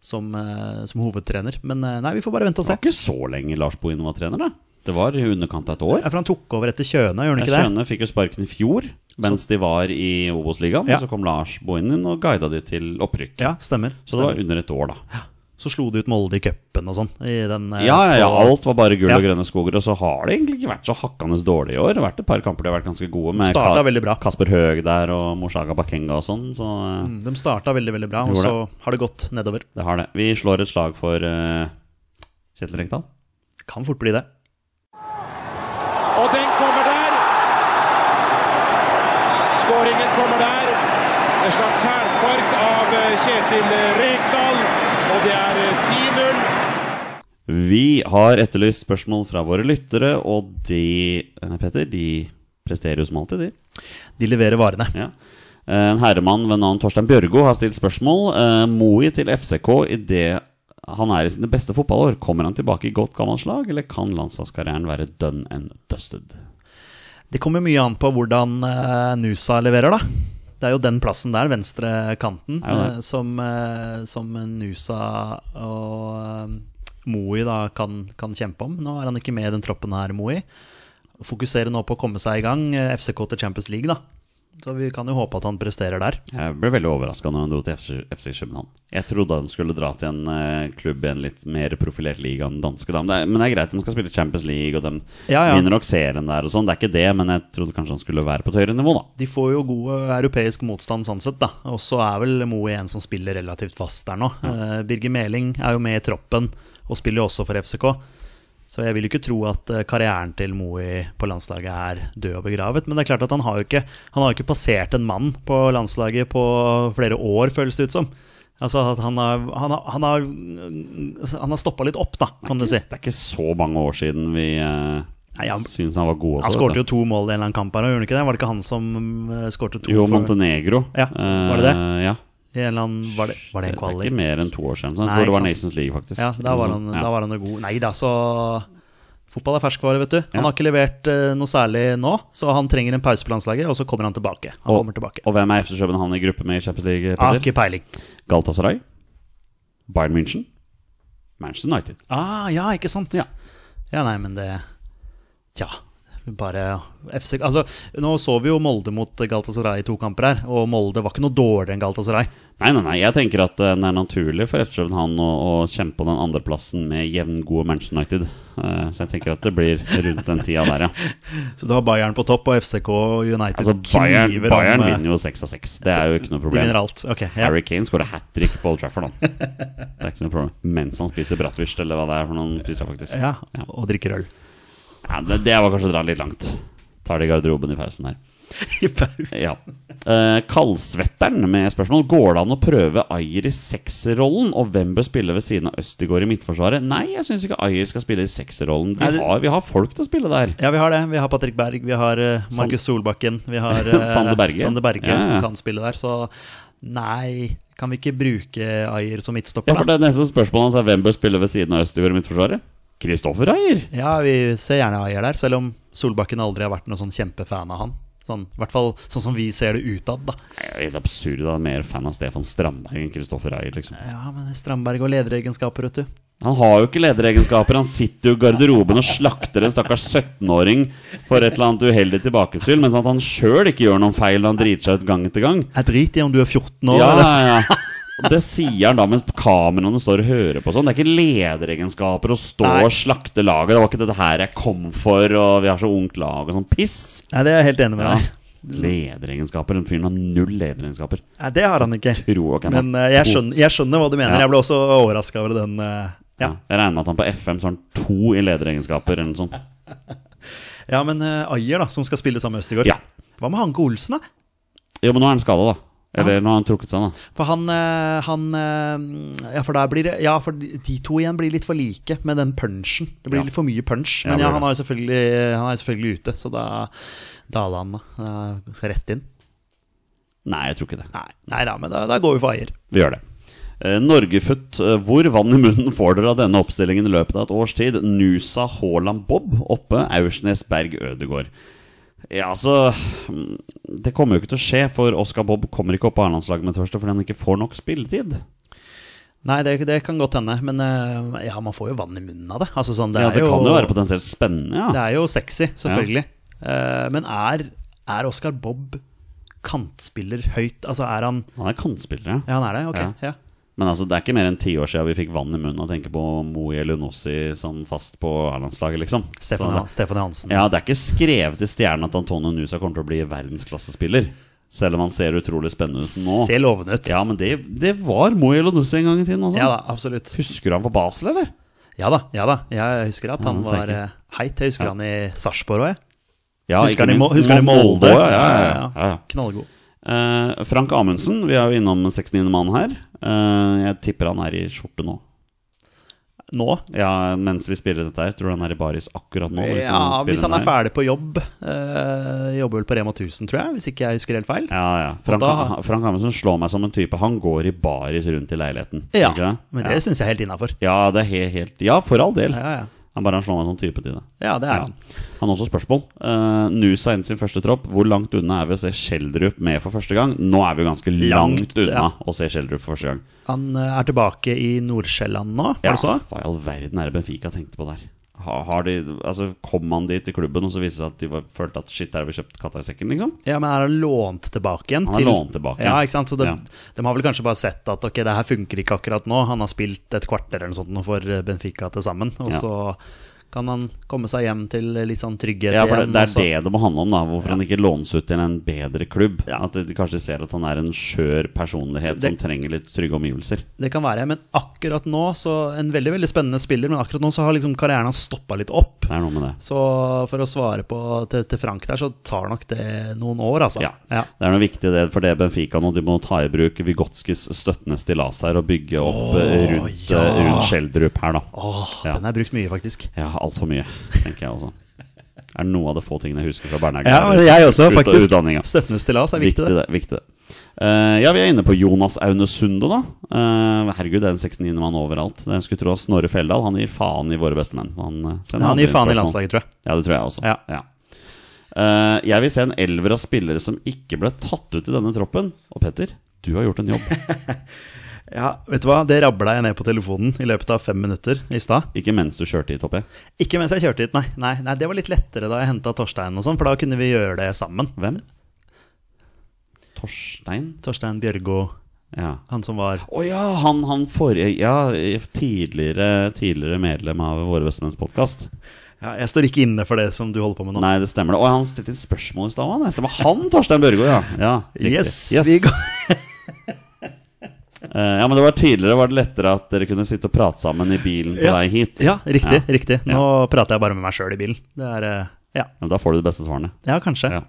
som, eh, som hovedtrener. Men eh, nei, vi får bare vente og
Det
se.
var ikke så lenge Lars Bohin var trener, da. Det var i underkant av et år.
Ja, for han tok over etter Kjøna, gjør han ikke det?
Skjønne fikk jo sparken i fjor, mens de var i Obos-ligaen.
Ja.
og Så kom Lars Bohin inn og guida de til opprykk.
Ja, stemmer.
Så det var under et år, da.
Så slo de ut Molde i cupen og sånn. i den, eh,
Ja, ja, ja,
på-
alt var bare gull
Ja.
og grønne skoger, og så har det egentlig ikke vært så hakkende dårlig i år. Det har vært et par kamper de har vært ganske gode, med
Starta
Ka-
veldig bra.
Kasper Høeg der og Moshaga Bakenga og sånn. Så eh,
Mm, De starta veldig, veldig bra, og
Gjorde
så har det gått nedover.
det har det. Vi slår et slag for eh, Kjetil Rekdal.
Kan fort bli det.
Og den kommer der. Skåringen kommer der. Et slags hælspark av eh, Kjetil Rekdal. Og det er eh, 10-0.
Vi har etterlyst spørsmål fra våre lyttere, og de, eh, Petter, de presterer jo som alltid, de.
De leverer varene.
Ja. Eh, En herremann ved navn Torstein Bjørgo har stilt spørsmål. Eh, Moi til FCK idet han er i sine beste fotballår. Kommer han tilbake i godt gammelt slag, eller kan landslagskarrieren være done and dusted?
Det kommer mye an på hvordan eh, Nusa leverer, da. Det er jo den plassen der, venstre kanten,
Ja, det.
eh, som, eh, som Nusa og eh, Moi da kan, kan kjempe om. Nå er han ikke med i den troppen her, Moi. Fokuserer nå på å komme seg i gang. eh, FCK til Champions League, da. Så vi kan jo håpe at han presterer der.
Jeg ble veldig overraska når han dro til FC, FC København. Jeg trodde han skulle dra til en eh, klubb i en litt mer profilert liga enn den danske. Da. Men, det er, men det er greit, de skal spille Champions League, og de
Ja, ja.
vinner nok serien der og sånn. Det er ikke det, men jeg trodde kanskje han skulle være på et høyere nivå, da.
De får jo god eh, europeisk motstand sånn sett, da. Og så er vel Moe en som spiller relativt fast der nå. Eh, Birger Meling er jo med i troppen, og spiller jo også for FCK. Så jeg vil jo ikke tro at eh, karrieren til Moe på landslaget er død og begravet. Men det er klart at han har jo ikke, han har jo ikke passert en mann på landslaget på flere år, føles det ut som. Altså at han har, han har, han har, han har stoppa litt opp, da, kan du si.
Det er ikke så mange år siden vi uh,
Nei, han-
syns han var god også.
Han
vet du.
skårte jo to mål i en eller annen kamp her, gjorde han ikke det? Var det ikke han som eh, skårte to?
Jo,
for-
Montenegro.
Ja, var det det?
Eh, ja.
i en eller annen, var, det, var det en
Det er
kvalik?
ikke mer enn to år siden. Så jeg
Nei,
tror det
ikke
var
sant.
Nations League, faktisk.
Ja, da var, han,
Eller noe sånt.
da
Ja.
var han god. Nei da, så Fotball er ferskvare, vet du.
Ja.
Han har ikke levert eh, noe særlig nå, så han trenger en pause på landslaget, og så kommer han tilbake. Han kommer tilbake.
Og hvem er FC København i gruppe med i Champions League?
Ah,
Petter?
ikke peiling.
Galatasaray, Bayern München, Manchester United.
Ah, ja, ikke sant?
Ja.
Ja, nei, men det Tja. Bare FC Altså, nå så vi jo Molde mot Galatasaray i to kamper her, og Molde var ikke noe dårligere enn Galatasaray.
Nei, nei, nei, jeg tenker at eh, det er naturlig for FC København å, å kjempe om den andreplassen med jevngode Manchester United. Eh, så jeg tenker at det blir rundt den tida der, ja.
Så du har Bayern på topp, og FCK og United
Altså, Bayern,
kniver
Bayern
om eh,
vinner jo seks av seks. Det er jo ikke noe
De
problem.
vinner alt. Ok, ja.
Harry Kane skårer hat trick på Old Trafford, da. Det er ikke noe problem. Mens han spiser bratwurst, eller hva det er for noe han spiser, faktisk.
ja.
Ja.
Og drikker øl.
Ja, det, det var kanskje å dra litt langt. Ferdig i garderoben i pausen her.
I pause.
Ja. Eh, Kaldsvetteren med spørsmål Går det an å prøve Ayer i sekserrollen, og hvem bør spille ved siden av Østigård i midtforsvaret? Nei, jeg syns ikke Ayer skal spille i sekserrollen.
Nei,
Vi,
det-
har- vi har folk til å spille der.
Ja, vi har det. Vi har Patrick Berg, vi har eh, Markus Solbakken, vi har eh,
Sander Berge.
Sander Berge
Ja, ja.
som kan spille der. Så nei, kan vi ikke bruke Ayer som
Ja,
midtstopper,
for
da?
det neste spørsmålet hans er hvem bør spille ved siden av Østigård i midtforsvaret? Kristoffer Ayer!
Ja, vi ser gjerne Ayer der, selv om Solbakken aldri har vært noen sånn kjempefan av han. Sånn, I hvert fall sånn som vi ser det utad, da.
Nei, jeg er Helt absurd. Jeg er mer fan av Stefan Strandberg enn Kristoffer Ayer. Liksom.
Ja, men Strandberg og lederegenskaper, vet du.
Han har jo ikke lederegenskaper. Han sitter jo i garderoben og slakter en stakkars 17-åring for et eller annet uheldig tilbakefyll, mens at han sjøl ikke gjør noen feil og han driter seg ut gang etter gang.
Jeg driter i om du er 14 år,
Ja,
eller?
ja, ja. Og Det sier han da mens kameraene står og hører på sånn. Det er ikke lederegenskaper å stå
Nei.
og slakte laget. Det var ikke dette her jeg kom for, og vi har så ungt lag og sånn piss.
Nei, det er jeg helt enig med
Ja.
deg
Lederegenskaper. Den fyren har null lederegenskaper.
Nei, Det har han ikke.
Tro og kan ha.
Men eh, jeg skjønner, jeg skjønner hva du mener.
Ja.
Jeg ble også overraska over den. eh,
Ja.
ja.
Jeg regner med at han på FM så har han to i lederegenskaper eller noe sånt.
ja, men eh, Ayer, da, som skal spille sammen med Østegård.
Ja.
Hva med Hanke Olsen, da?
Jo, men nå er han skada, da. Eller nå har han trukket seg, da.
For han, eh, han eh, Ja, for der blir det Ja, for de de to igjen blir litt for like med den punchen. Det blir
Ja.
litt for mye punch.
Ja,
Men
det
ja,
blir
han er jo selvfølgelig, eh, han er jo selvfølgelig ute, så da daler han. da. Da Skal rett inn.
Nei, jeg tror ikke det.
Nei, nei da, men da, da går vi for Ayer.
Vi gjør det. Eh, Norgefutt, eh, hvor vann i munnen får dere av denne oppstillingen i løpet av et års tid? Nusa Haaland Bob oppe, Aursnes Berg Ødegård. Ja, altså mm, Det kommer jo ikke til å skje, for Oskar Bob kommer ikke opp på A-landslaget med tørste fordi han ikke får nok spilletid.
Nei, det, det kan godt hende, men eh, ja, man får jo vann i munnen av det. Altså, sånn, det,
ja,
er
det kan jo være potensielt spennende,
Det
ja.
er jo sexy, selvfølgelig. Eh, men er, er Oscar Bob kantspiller høyt? Altså, er han
Han er kantspiller, ja.
Ja, han er det? Ok.
Ja.
Ja.
Men altså, det er ikke mer enn ti år siden vi fikk vann i munnen av å tenke på Moe Elunossi sånn fast på A-landslaget, liksom. Så
Stefan,
det-
Stefan Johansen.
Ja, det er ikke skrevet i stjernen at Antonio Nusa kommer til å bli verdensklassespiller. Selv om han ser utrolig spennende ut nå.
Ser lovende ut. Ja.
Ja, men det, det var Moe Elonussi en gang i tiden også.
da, absolutt.
Husker du han for Basel, eller?
Ja da, ja da. Jeg husker at
Ja,
han
han
var
sterker.
eh, heit. Jeg husker
Ja.
han i Sarpsborg òg, jeg.
Ja,
Husker
ikke
han i Mo-
minst
husker han i Molde?
Ja, ja, ja, ja, ja.
Knallgod.
Eh, Frank Amundsen, vi er jo innom 69. mann her. Eh, jeg tipper han er i skjorte nå.
Nå?
Ja, mens vi spiller dette her. Tror du han er i baris akkurat nå?
ja,
spiller
hvis han
den
er
her?
ferdig på jobb. eh, jobber vel på Rema 1000, tror jeg, hvis ikke jeg husker helt feil.
Ja, ja. Frank,
da-
Frank Amundsen slår meg som en type. Han går i baris rundt i leiligheten.
Ja,
ikke det?
men
ja.
det syns jeg er helt innafor.
ja, det er he- helt Ja, for all del.
Ja, ja.
Han bare slår meg som type til det.
ja, det er
Ja.
han.
Han har også spørsmål. Uh, Nusa inn sin første tropp. Hvor langt unna er vi å se Schjelderup med for første gang? Nå er vi jo ganske langt,
Langt,
unna
ja.
å se Schjelderup for første gang.
Han eh, er tilbake i Nord-Sjælland nå, var det så?
Hva i all verden er det Benfica tenkte på der? Har, har de, altså, kom han dit til klubben, og så viste det seg at de var, følte at shit, der har vi kjøpt katta i sekken, liksom?
Ja, men er han lånt tilbake igjen?
Han er
til-
lånt tilbake,
Ja,
ja.
ikke sant? Så de,
Ja.
de har vel kanskje bare sett at ok, det her funker ikke akkurat nå. Han har spilt et kvarter eller noe sånt nå for eh, Benfica til sammen. Og
Ja.
så kan han komme seg hjem til litt sånn trygghet
Ja, for det,
igjen.
det
og
er
så-
det det må handle om, da. Hvorfor han ikke lånes ut til en bedre klubb.
Ja.
At de kanskje ser at han er en skjør personlighet
Det-
som trenger litt trygge omgivelser.
Det kan være, men akkurat nå så En veldig, veldig spennende spiller, men akkurat nå så har liksom karrieren hans stoppa litt opp.
Det er noe med det.
Så for å svare på til, til Frank der, så tar nok det noen år, altså.
Ja. Det er noe viktig del for det Benfica nå. De må ta i bruk Vigotskis støttende stillas her og bygge opp eh, rundt,
ja.
eh, rundt Schjelderup her, da.
Åh,
Ja.
den er brukt mye, faktisk.
Ja, altfor mye, tenker jeg også. Er noe av det få tingene jeg husker fra Berner'n.
Ja, men jeg også,
Ut av
faktisk.
utdanninga.
Støttende stillas er viktig, det.
Viktig, det. Viktig, det. Eh, ja, vi er inne på Jonas Aune Sunde, da. Eh, herregud, det er en 69-mann overalt. Jeg skulle tro at Snorre Feldal han gir faen i våre beste menn. Han, eh, sender
Han
andre
gir faen i
spørsmål.
landslaget, tror jeg.
Ja, det tror jeg også.
Ja.
Eh, jeg vil se en elver av spillere som ikke ble tatt ut i denne troppen. Og Petter, du har gjort en jobb.
Ja, vet du hva? Det rabla jeg ned på telefonen i løpet av fem minutter i stad.
Ikke mens du kjørte hit, håper jeg.
Ikke mens jeg kjørte hit, nei. nei, nei det var litt lettere da jeg henta Torstein og sånn, for da kunne vi gjøre det sammen.
Hvem? Torstein?
Torstein Bjørgo,
Ja.
han som var
Å ja, han, han forrige Ja, tidligere, tidligere medlem av Våre bestemenns podkast.
ja, Jeg står ikke inne for det som du holder på med nå.
Nei, det stemmer det. Å, han stilte inn spørsmål i stad òg, han. Stemmer han, Torstein Børgo, ja. ja riktig.
yes, vi går
Eh, ja, men det var tidligere var det lettere at dere kunne sitte og prate sammen i bilen på
Ja.
vei hit.
Ja, riktig.
Ja.
riktig Nå prater jeg bare med meg sjøl i bilen. Det er eh, Ja.
Men da får du de beste svarene.
Ja, kanskje.
Ja.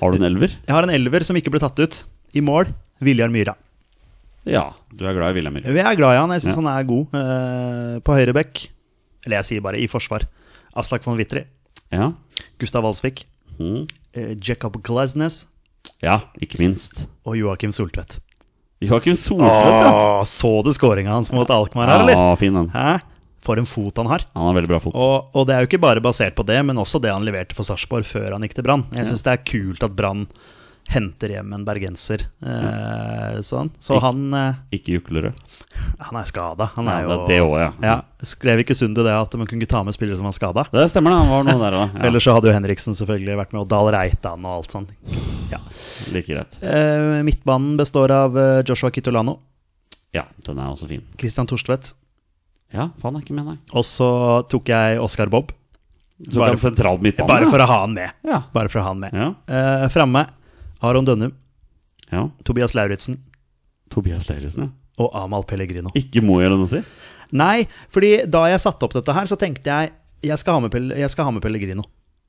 Har du en elver?
Jeg har en elver som ikke ble tatt ut. I mål Viljar Myra.
Ja. Du er glad i Wilhelm Myhre.
Jeg er glad i han. Jeg syns
Ja.
han er god. Eh, på høyre bekk Eller jeg sier bare i forsvar. Aslak von Wittry.
Ja.
Gustav Walsvik.
Mhm.
eh, Jacob Glasnes.
ja, ikke minst.
Og Joakim Soltvedt.
Joakim Soltvedt, ja.
Åh, så du skåringa hans mot Alkmaar her, eller?
Ja, fin den.
Hæ? For en fot han har.
Han har veldig bra fot.
Og, og det er jo ikke bare basert på det, men også det han leverte for Sarpsborg før han gikk til Brann. Jeg syns det er kult at Brann henter hjem en bergenser.
Mm.
Eh, sånn. Så han, eh,
Ikke juklerød.
han er skada. Han
Ja,
er jo
det er det også, ja.
Ja, Skrev ikke Sunde det at man kunne ikke ta med spillere som var skada?
Det stemmer, det. Han var noe der òg. Ja,
Ellers så hadde jo Henriksen selvfølgelig vært med, og Dahl Reitan og alt sånn. Ja.
like greit.
Eh, midtbanen består av eh, Joshua Kitolano,
Ja, den er også fin.
Christian Torstvedt,
Ja, faen, er ikke med, nei.
og så tok jeg Oskar Bob.
Du
Bare
kan sentral midtbane.
Bare for å ha han med.
Ja.
Bare for å ha han med.
Ja.
Eh, Framme Aron Dønnum,
ja.
Tobias Lauritzen
Tobias Leiresen, ja.
og Amal Pellegrino.
Ikke må gjøre noe å si.
Nei, fordi da jeg satte opp dette her, så tenkte jeg jeg skal ha med, Pel jeg skal ha med Pellegrino.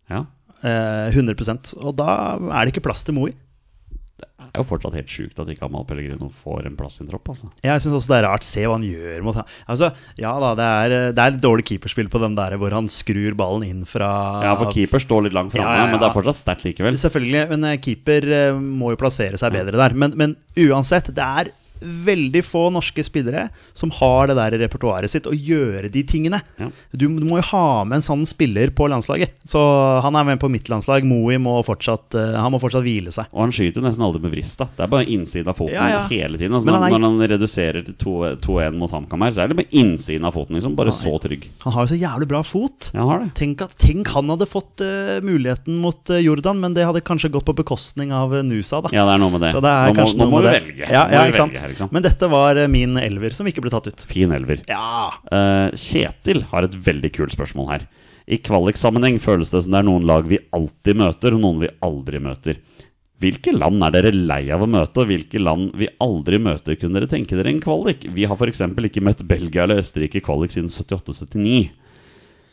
Ja.
Eh, 100 Og da er det ikke plass til Moi.
Det er jo fortsatt helt sjukt at ikke Amal Pellegrino får en plass i en tropp, altså.
Jeg syns også det er rart. Se hva han gjør mot han. Altså, ja da, det er, det er dårlig keeperspill på den der hvor han skrur ballen inn fra
Ja, for keeper står litt langt framme,
Ah, Ja, ja, ja.
men det er fortsatt sterkt likevel.
Selvfølgelig, men eh, keeper eh, må jo plassere seg bedre der. Men, men uansett, det er veldig få norske spillere som har det der i repertoaret sitt å gjøre de tingene.
Ja.
Du, du må jo ha med en sånn spiller på landslaget. Så han er med på mitt landslag. Moey må fortsatt, eh, han må fortsatt hvile seg.
Og han skyter jo nesten aldri med vrist. da Det er bare innsiden av foten
Ja, ja.
hele tiden. Altså,
Men han er-
Når han reduserer til 2- 2-1 mot HamKam her, så er det med innsiden av foten. liksom Bare så trygg.
Han har jo så jævlig bra fot.
Ja, han har det.
Tenk, at, tenk han hadde fått eh, muligheten mot eh, Jordan, men det hadde kanskje gått på bekostning av eh, Nusa, da.
Ja, det er noe med det.
Så det er
nå må,
kanskje
nå
noe
må
med
du
det.
velge.
Ja,
Nå må
ja,
du
ikke sant?
velge her, ikke sant?
Men dette var eh, min elver som ikke ble tatt ut.
Fin elver.
Ja,
Eh, Kjetil har et veldig kult spørsmål her. I kvaliksammenheng føles det som det er noen lag vi alltid møter, og noen vi aldri møter. Hvilke land er dere lei av å møte, og hvilke land vi aldri møter, kunne dere tenke dere en kvalik? Vi har f.eks. ikke møtt Belgia eller Østerrike i kvalik siden 78-79.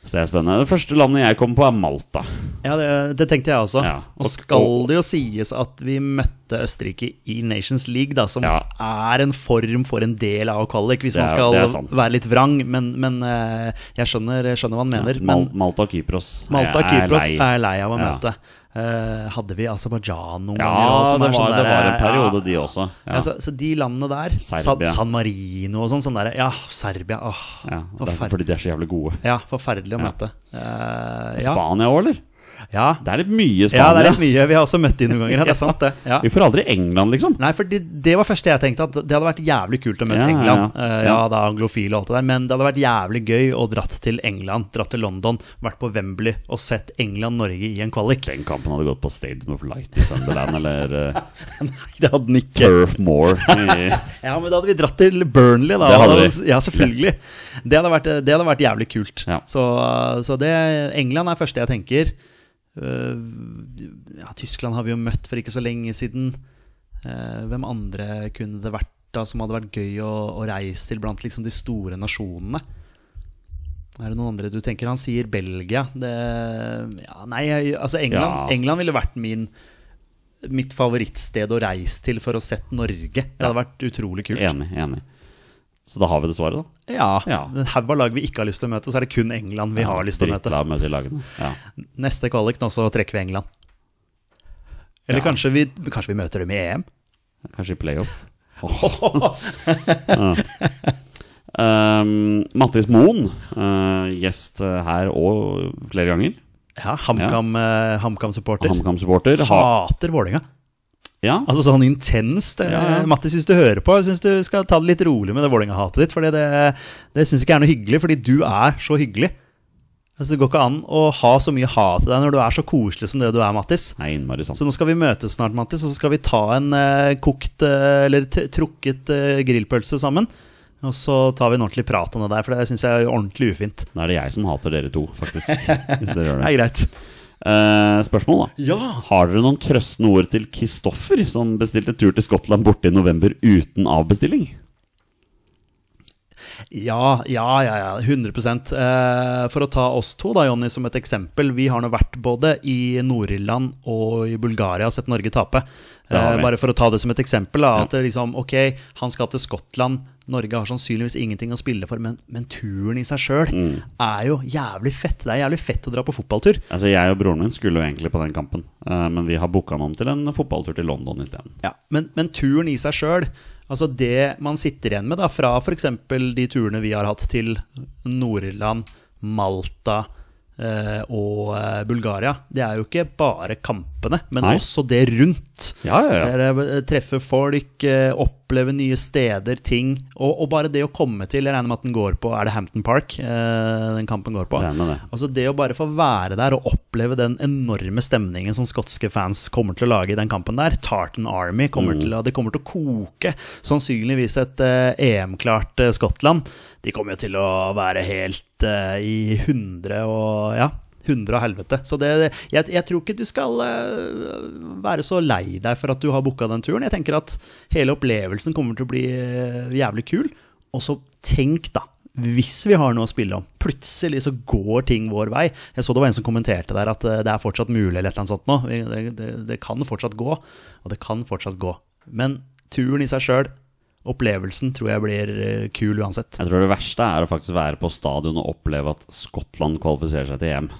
Så det er spennende. Det første landet jeg kommer på, er Malta.
ja det, det tenkte jeg også.
Ja,
Og
og-
skal det jo sies at vi møtte Østerrike i Nations League, da, som
Ja.
er en form for en del av kvalik, hvis
Det er-
man skal
det er sant.
være litt vrang. Men, men eh, jeg, skjønner, jeg skjønner hva han mener.
Mal
men
Malta og Kypros. er
Malta og
jeg
Kypros
lei.
er jeg lei av å
Ja.
møte. Eh, hadde vi Aserbajdsjan noen
Ja,
ganger?
det
også, som
var,
er sånn
det
der,
var en
ja. Altså,
periode, de også. Ja.
Ja. så, så de landene der, San,
Serbia.
San Marino og sånn, sånn der, ja, Serbia åh,
Ja, og det er
forferdelig,
fordi de er så jævlig gode.
ja, forferdelig å
Ja.
møte. Eh, ja.
Spania òg, eller?
Ja.
Det er litt mye
ja, det
Spania.
er litt mye. Vi har også møtt de noen ganger, ja, det er sant, det. Ja.
Vi får aldri England, liksom.
Nei, for det, det var første jeg tenkte, at det hadde vært jævlig kult å møte
Ja, ja,
England.
ja.
Eh, ja, det er anglofil og alt det der, men det hadde vært jævlig gøy å dratt til England, dratt til London, vært på Wembley og sett England-Norge i en kvalik.
Den kampen hadde gått på Stadium of Light i Sunderland, eller eh,
Det hadde den ikke.
Turf Moor. i-
Ja, men da hadde vi dratt til Burnley, da.
Det hadde
Da-
vi.
Ja, selvfølgelig. Det hadde vært, det hadde vært jævlig kult.
Ja.
Så, så det England er første jeg tenker. Eh, ja, Tyskland har vi jo møtt for ikke så lenge siden. Eh, hvem andre kunne det vært da som hadde vært gøy å, å reise til blant liksom de store nasjonene? Er det noen andre du tenker? Han sier Belgia. Det, ja, nei, jeg, altså England,
Ja.
England ville vært min mitt favorittsted å reise til for å sett Norge. Det hadde vært utrolig kult.
Enig, enig. Så da har vi det svaret, da.
Ja,
Ja.
En haug av lag vi ikke har lyst til å møte, så er det kun England vi har lyst til å møte.
Drittlag møter lagene. Ja.
Neste kvalik nå, så trekker vi England. Eller
Ja.
kanskje, vi, kanskje vi møter dem i EM?
Kanskje i playoff. Ja. Um, Mattis Moen, eh, gjest eh, her og flere ganger.
Ja, HamKam eh, HamKam-supporter.
HamKam-supporter. Ha,
Hater Vålerenga.
ja,
Altså sånn intenst. eh,
Ja, ja.
Mattis, hvis du hører på, syns du skal ta det litt rolig med det Vålerenga-hatet ditt. For det, det syns ikke jeg er noe hyggelig, fordi du er så hyggelig. Altså, det går ikke an å ha så mye hat til deg når du er så koselig som det du er, Mattis.
er innmari sant.
Så nå skal vi møtes snart, Mattis, og så skal vi ta en eh, kokt eh, eller t trukket eh, grillpølse sammen. Og så tar vi en ordentlig prat om det der, for det syns jeg er ordentlig ufint.
Da er det jeg som hater dere to, faktisk. Hvis dere gjør
Det
det.
er greit.
Eh, spørsmål, da.
Ja!
Har dere noen trøstende ord til Kristoffer, som bestilte tur til Skottland borte i november uten avbestilling?
Ja, ja, ja. ja 100 eh, For å ta oss to, da, Jonny, som et eksempel. Vi har nå vært både i Nord-Irland og i Bulgaria og sett Norge tape.
Det har
Eh,
vi.
bare for å ta det som et eksempel. Da, at det liksom, ok, Han skal til Skottland. Norge har sannsynligvis ingenting å spille for, men, men turen i seg sjøl
Mm.
er jo jævlig fett. Det er jævlig fett å dra på fotballtur.
Altså, jeg og broren min skulle jo egentlig på den kampen, eh, men vi har booka den om til en fotballtur til London isteden.
Ja, men, men turen i seg sjøl, altså det man sitter igjen med da, fra f.eks. de turene vi har hatt til Nord-Irland, Malta eh, og eh, Bulgaria, det er jo ikke bare kampene, men
Nei.
også det rundt.
Ja, ja, ja.
Der, eh, Treffe folk, eh, oppleve nye steder, ting. Og, og bare det å komme til Jeg regner med at den går på Er det Hampton Park eh, den kampen går på?
Regner med det.
Altså Det å bare få være der og oppleve den enorme stemningen som skotske fans kommer til å lage i den kampen der. Tartan Army kommer til å Det kommer til å koke. Sannsynligvis et eh, EM-klart eh, Skottland. De kommer jo til å være helt eh, i hundre og Ja. Hundre og helvete. Så det, jeg, jeg tror ikke du skal eh, være så lei deg for at du har booka den turen. Jeg tenker at hele opplevelsen kommer til å bli eh, jævlig kul. Og så tenk, da. Hvis vi har noe å spille om, plutselig så går ting vår vei. Jeg så det var en som kommenterte der at eh, det er fortsatt mulig eller et eller annet sånt nå. Vi- Det, det, det kan fortsatt gå, og det kan fortsatt gå. Men turen i seg sjøl, opplevelsen, tror jeg blir eh, kul uansett.
Jeg tror det verste er å faktisk være på stadion og oppleve at Skottland kvalifiserer seg til EM.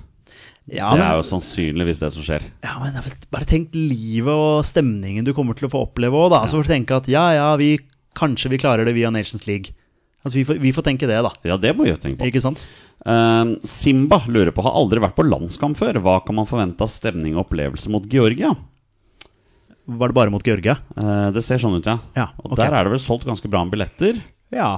Ja,
det er
men,
jo sannsynligvis det som skjer.
ja, men bare tenk livet og stemningen du kommer til å få oppleve òg, da. Så får du tenke at ja, ja, vi, kanskje vi klarer det via Nations League. Altså, vi får, vi får tenke det, da.
Ja, det må vi jo tenke på.
Ikke sant?
Eh, Simba lurer på har aldri vært på landskamp før. Hva kan man forvente av stemning og opplevelse mot Georgia?
Var det bare mot Georgia?
Eh, det ser sånn ut, ja.
Ja,
Og
ok.
der er det vel solgt ganske bra med billetter.
Ja.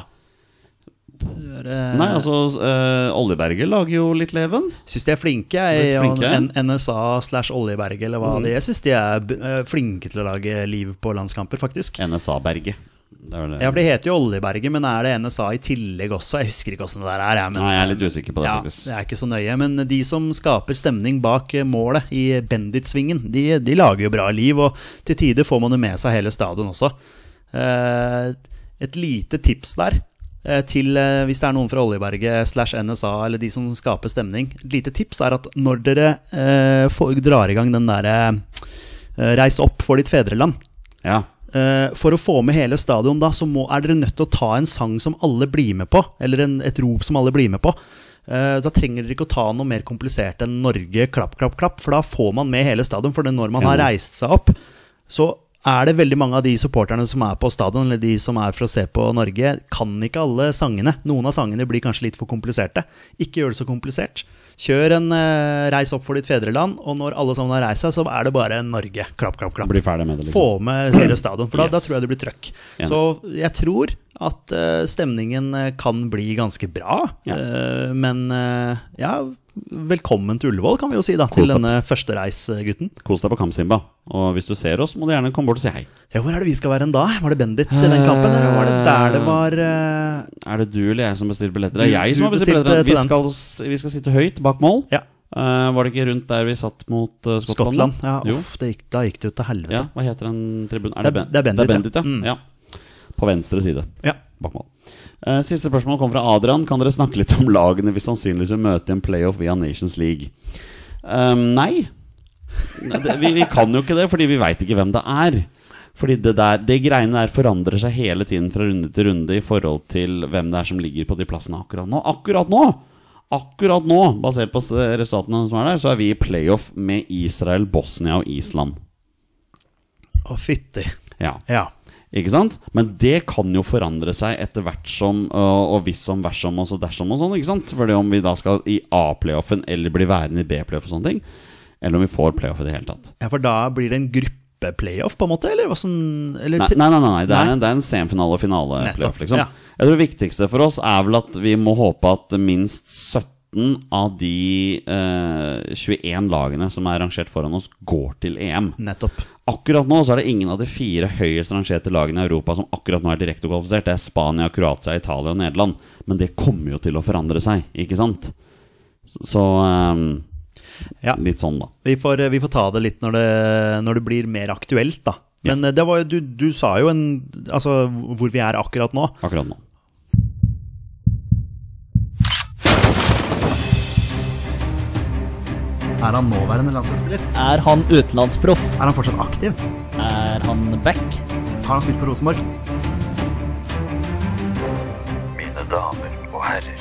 Det er, eh,
Nei, altså eh, Oljeberget lager jo litt leven.
Syns de er flinke, Mm. jeg.
Litt flinke.
og N- NSA slash Oljeberg eller hva det er. Jeg syns de er b- eh, flinke til å lage liv på landskamper, faktisk.
NSA-berget. Det er vel det.
Ja, for det heter jo Oljeberget, men er det NSA i tillegg også? Jeg husker ikke åssen det der er. Jeg, men
Nei, jeg er litt usikker på det,
ja,
faktisk.
det er ikke så nøye. Men de som skaper stemning bak eh, målet i Benditsvingen, de, de lager jo bra liv, og til tider får man jo med seg hele stadion også. Eh, et lite tips der eh, til eh, hvis det er noen fra Oljeberget slash NSA eller de som skaper stemning. Et lite tips er at når dere eh, får, drar i gang den derre eh, Reis opp for ditt fedreland.
Ja.
Eh, for å få med hele stadion, da, så må, er dere nødt til å ta en sang som alle blir med på. Eller en, et rop som alle blir med på. Eh, da trenger dere ikke å ta noe mer komplisert enn Norge, klapp, klapp, klapp. For da får man med hele stadion. For det når man har reist seg opp, så er det veldig mange av de supporterne som er på stadion, eller de som er for å se på Norge, kan ikke alle sangene. Noen av sangene blir kanskje litt for kompliserte. Ikke gjør det så komplisert. Kjør en eh, reis opp for ditt fedreland, og når alle sammen har reist seg, så er det bare Norge. Klapp, klapp, klapp.
Bli ferdig med det, liksom.
Få med hele stadion, for da, da
Yes.
tror jeg det blir trøkk.
Enig.
Så jeg tror at eh, stemningen eh, kan bli ganske bra.
Ja.
Eh, men eh, ja, velkommen til Ullevål, kan vi jo si, da, til
Kos deg.
denne førstereisgutten.
Kos deg på kamp, Simba. Og hvis du ser oss, må du gjerne komme bort og si hei.
Ja, hvor er det vi skal være en da? Var det Bendit i den kampen? Eller var det der det var eh,
Er det du eller jeg som bestiller billetter? Det
Du-
er jeg som
du
har bestilt
bestilte
billetter. Vi
til den.
skal, s- vi skal sitte høyt bak mål.
Ja,
Eh, var det ikke rundt der vi satt mot eh, Skottland?
Skottland. Ja,
jo.
uff, det gikk, da gikk det jo til helvete.
Ja, hva heter den tribunen?
Det er- det er Bendit,
det er Bendit ja.
ja. Mm.
ja. På venstre side.
Ja.
Bak mål. Eh, siste spørsmål kommer fra Adrian. Kan dere snakke litt om lagene vi sannsynligvis vil møte i en playoff via Nations League? Eh, nei. Nei, det- Vi, vi kan jo ikke det, fordi vi veit ikke hvem det er. Fordi det, der, det greiene der forandrer seg hele tiden fra runde til runde i forhold til hvem det er som ligger på de plassene akkurat nå. Akkurat nå! Akkurat nå, basert på s- resultatene som er der, så er vi i playoff med Israel, Bosnia og Island.
Å, fytti.
Ja.
Ja.
Ikke sant? Men det kan jo forandre seg etter hvert som øh, og hvis som, vers som og så dersom og sånn. ikke sant? Fordi om vi da skal i A-playoffen eller bli værende i B-playoff og sånne ting. Eller om vi får playoff i det hele tatt.
ja, for da blir det en gruppeplayoff, på en måte? Eller hva som eller,
Nei,
til-
nei, nei, nei, Det,
Nei.
er, det er en semifinale- og finale-playoff,
Nettopp,
liksom.
ja.
Jeg tror Det viktigste for oss er vel at vi må håpe at minst 17 av de eh, 21 lagene som er rangert foran oss, går til EM.
Nettopp.
Akkurat nå så er det ingen av de fire høyest rangerte lagene i Europa som akkurat nå er direkte kvalifisert. Det er Spania, Kroatia, Italia og Nederland. Men det kommer jo til å forandre seg, ikke sant? Så, så ehm,
Ja.
litt sånn, da.
Vi får, eh, vi får ta det litt når det, når det blir mer aktuelt, da. Men eh, det var, jo- du, du sa jo en Altså hvor vi er akkurat nå.
Akkurat nå.
Er han nåværende landslagsspiller?
Er han utenlandsproff?
Er han fortsatt aktiv?
Er han back?
Har han spilt for Rosenborg?
Mine damer og herrer,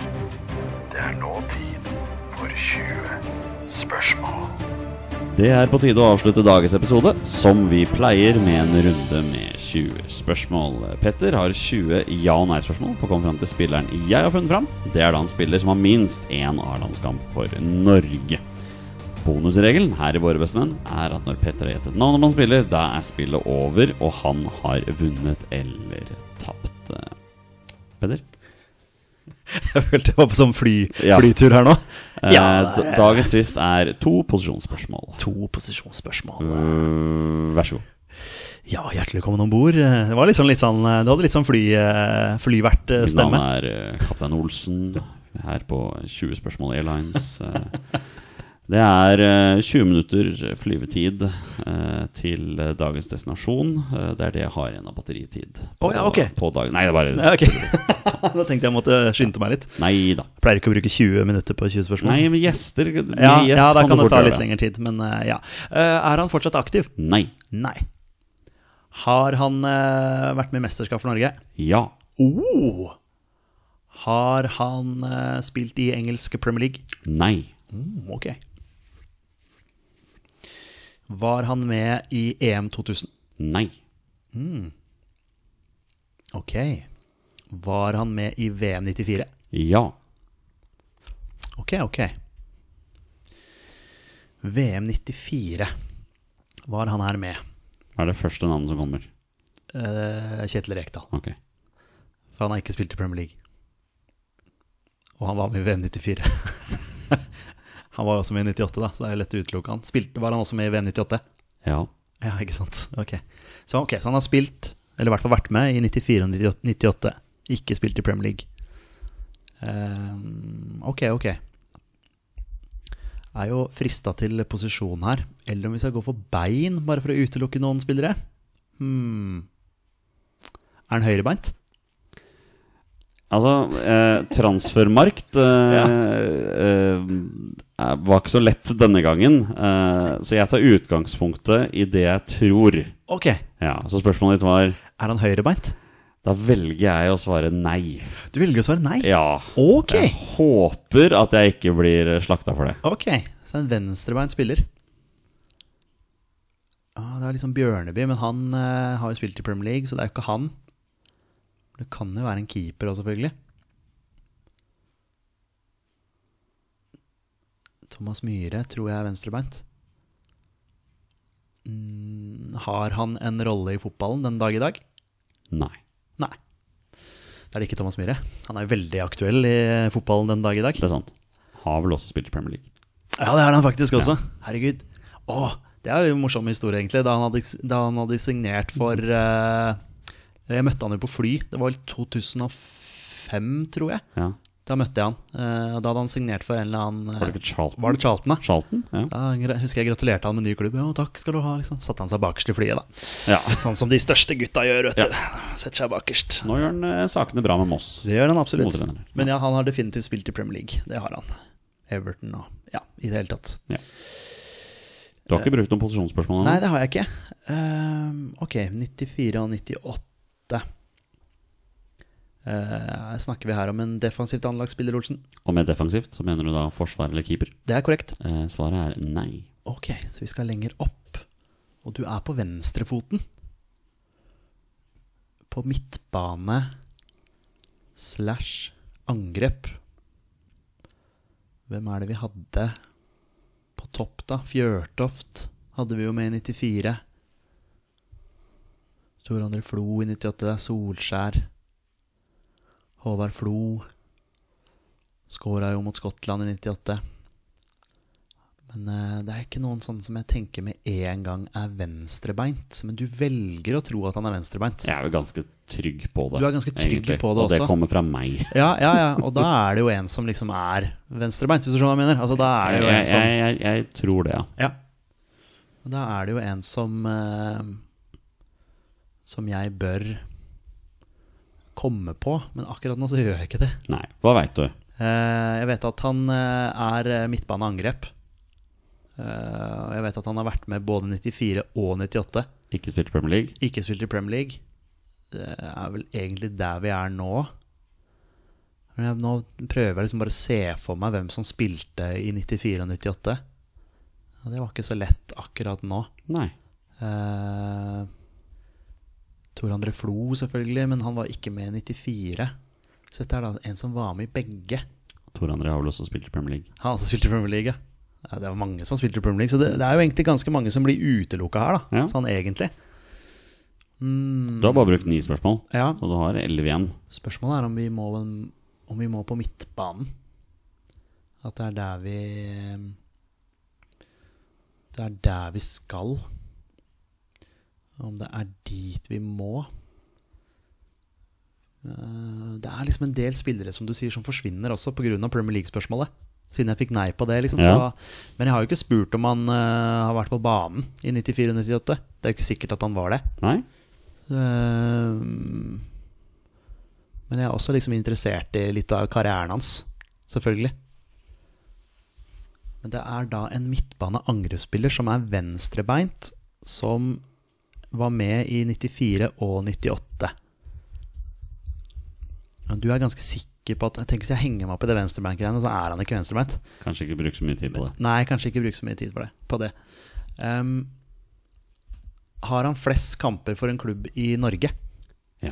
det er nå tid for 20 spørsmål.
Det er på tide å avslutte dagens episode, som vi pleier, med en runde med 20 spørsmål. Petter har 20 ja- og nei-spørsmål på å komme fram til spilleren jeg har funnet fram. Det er da en spiller som har minst én A-landskamp for Norge. Bonusregelen her i Våre bestemenn er at når Petter har gjettet navnet på en spiller, da er spillet over, og han har vunnet eller tapt. Petter?
Jeg følte jeg var på sånn fly,
Ja.
flytur her nå.
Eh,
Ja,
d- Dagens twist er to posisjonsspørsmål.
To posisjonsspørsmål.
Eh, Vær så god.
Mm. Ja, hjertelig velkommen om bord. Det var litt sånn, litt sånn, du hadde litt sånn fly, eh,
Mitt
flyvertstemme.
navn er eh, Kaptein Olsen her på 20 spørsmål Airlines. Eh, Det er eh, 20 minutter flyvetid eh, til eh, dagens destinasjon. Eh, Det er det jeg har igjen av batteritid. På,
Å ja, ok.
på dagen. Nei, det er bare
Ja, ok. da tenkte jeg måtte skynde meg litt.
Nei da.
Jeg pleier ikke å bruke 20 minutter på 20 spørsmål.
Nei, men gjester Mye
ja,
gjest
ja, da
kan
kan
du
det
fort
ta
gjøre
litt lengre tid, men eh, ja. Eh, Er han fortsatt aktiv?
Nei.
Nei. Har han eh, vært med i mesterskap for Norge?
Ja.
Oh. Har han eh, spilt i engelske Premier League?
Nei.
Mm, ok. Var han med i EM 2000?
Nei.
Ok. Var han med i VM 94?
Ja.
Ok, ok. VM 94 var han her med.
Hva er det første navnet som kommer?
eh, Kjetil Rekdal.
Ok.
For han har ikke spilt i Premier League. Og han var med i VM 94. han var også med i 98, da, så det er lett å utelukke han. Spilte, var han også med i VM 98?
Ja.
Ja, ikke sant. Ok. Så, ok, så han har spilt, eller i hvert fall vært med, i 94 og 98. 98. Ikke spilt i Premier League. Ehm, ok, ok. Er jo frista til posisjon her. Eller om vi skal gå for bein, bare for å utelukke noen spillere. Hmm. Er han høyrebeint?
Altså, eh, transfermarkt eh, eh, var ikke så lett denne gangen. Eh, så jeg tar utgangspunktet i det jeg tror.
Ok. Er
Ja, Så spørsmålet ditt var
han høyrebeint?
Da velger jeg å svare nei.
Du velger å svare nei?
Ja.
Ok.
Jeg håper at jeg ikke blir slakta for det.
Ok, så en venstrebeint spiller. Ah, det er liksom Bjørneby, men han eh, har jo spilt i Premier League, så det er jo ikke han. Det kan jo være en keeper òg, selvfølgelig. Thomas Myhre tror jeg er venstrebeint. Mm, har han en rolle i fotballen den dag i dag?
Nei.
Nei. Det er det ikke Thomas Myhre. Han er veldig aktuell i eh, fotballen den dag i dag.
Det er sant. Har vel også spilt i Premier League.
Ja, det har han faktisk også. Herregud. Åh, det er jo en morsom historie, egentlig. Da han hadde, da han hadde signert for eh, Jeg møtte han jo på fly. Det var vel 2005, tror jeg.
Ja.
Da møtte jeg han. Eh, og da hadde han signert for en eller annen eh,
Var det ikke Charlton?
Var det Charlton, da?
Charlton? Ja.
Da gra- husker jeg gratulerte han med ny klubb. Ja, takk skal du ha, liksom. Satte han seg bakerst i flyet, da.
ja.
Sånn som de største gutta gjør, vet du. Setter seg bakerst.
Nå gjør han eh, sakene bra med Moss.
Det gjør han absolutt.
Motrenner. Ja.
Men ja, han har definitivt spilt i Premier League. Det har han. Everton og Ja, i det hele tatt.
Du har ikke brukt noen posisjonsspørsmål
Nei,
ennå?
det har jeg ikke. Ehm, ok, 94 og 98. Eh, snakker vi her om en defensivt anlagt spiller, Olsen?
Og med defensivt, så mener du da forsvar eller keeper?
Det er korrekt.
Eh, svaret er nei.
Ok, så vi skal lenger opp. Og du er på venstrefoten. På midtbane slash angrep. Hvem er det vi hadde på topp, da? Fjørtoft hadde vi jo med i 94. Tor André Flo i 98. Det er Solskjær. Håvard Flo skåra jo mot Skottland i 98. Men eh, det er ikke noen sånne som jeg tenker med en gang er venstrebeint. Men du velger å tro at han er venstrebeint.
Jeg er jo ganske trygg på det.
Du er ganske trygg
egentlig,
på det
Og det
også.
kommer fra meg.
Ja, ja, ja. Og da er det jo en som liksom er venstrebeint, hvis du skjønner hva jeg mener. Altså, da er
Jeg,
det jo en
jeg,
som
jeg, jeg tror det, ja.
Ja. Og da er det jo en som eh, Som jeg bør komme på, men akkurat nå så gjør jeg ikke det.
Nei, hva veit du?
Eh, jeg vet at han eh, er midtbaneangrep. Eh, og jeg vet at han har vært med både 94 og 98.
Ikke spilt Premier League.
Ikke spilt i Premier League. Det er vel egentlig der vi er nå. Men jeg, nå prøver jeg liksom bare å se for meg hvem som spilte i 94 og 98. Og det var ikke så lett akkurat nå.
Nei.
Eh, Tor André Flo, selvfølgelig, men han var ikke med i 94. Så dette er da en som var med i begge.
Tor André har vel også spilt i Premier League.
Han som spilte i Premier League. ja. Ja, det er mange som har spilt i Premier League, så det, det er jo egentlig ganske mange som blir utelukka her, da.
Ja.
Sånn egentlig. Mm.
Du har bare brukt ni spørsmål,
Ja.
og du har elleve igjen.
Spørsmålet er om vi må, om vi må på midtbanen. At det er der vi Det er der vi skal. Om det er dit vi må. Eh, Det er liksom en del spillere som du sier som forsvinner også pga. Premier League-spørsmålet. Siden jeg fikk nei på det. liksom
Ja.
så, Men jeg har jo ikke spurt om han eh, har vært på banen i 94 og 98. Det er jo ikke sikkert at han var det.
Nei?
Eh, Men jeg er også liksom interessert i litt av karrieren hans, selvfølgelig. Men det er da en midtbane angrepsspiller som er venstrebeint, som var med i 94 og 98. Ja, Du er ganske sikker på at jeg tenker Hvis jeg henger meg opp i det venstrebeint-greiene, så er han ikke venstrebeint.
Kanskje ikke bruke så mye tid på det.
Nei, kanskje ikke bruke så mye tid for det, på det. Ehm, har han flest kamper for en klubb i Norge?
Ja.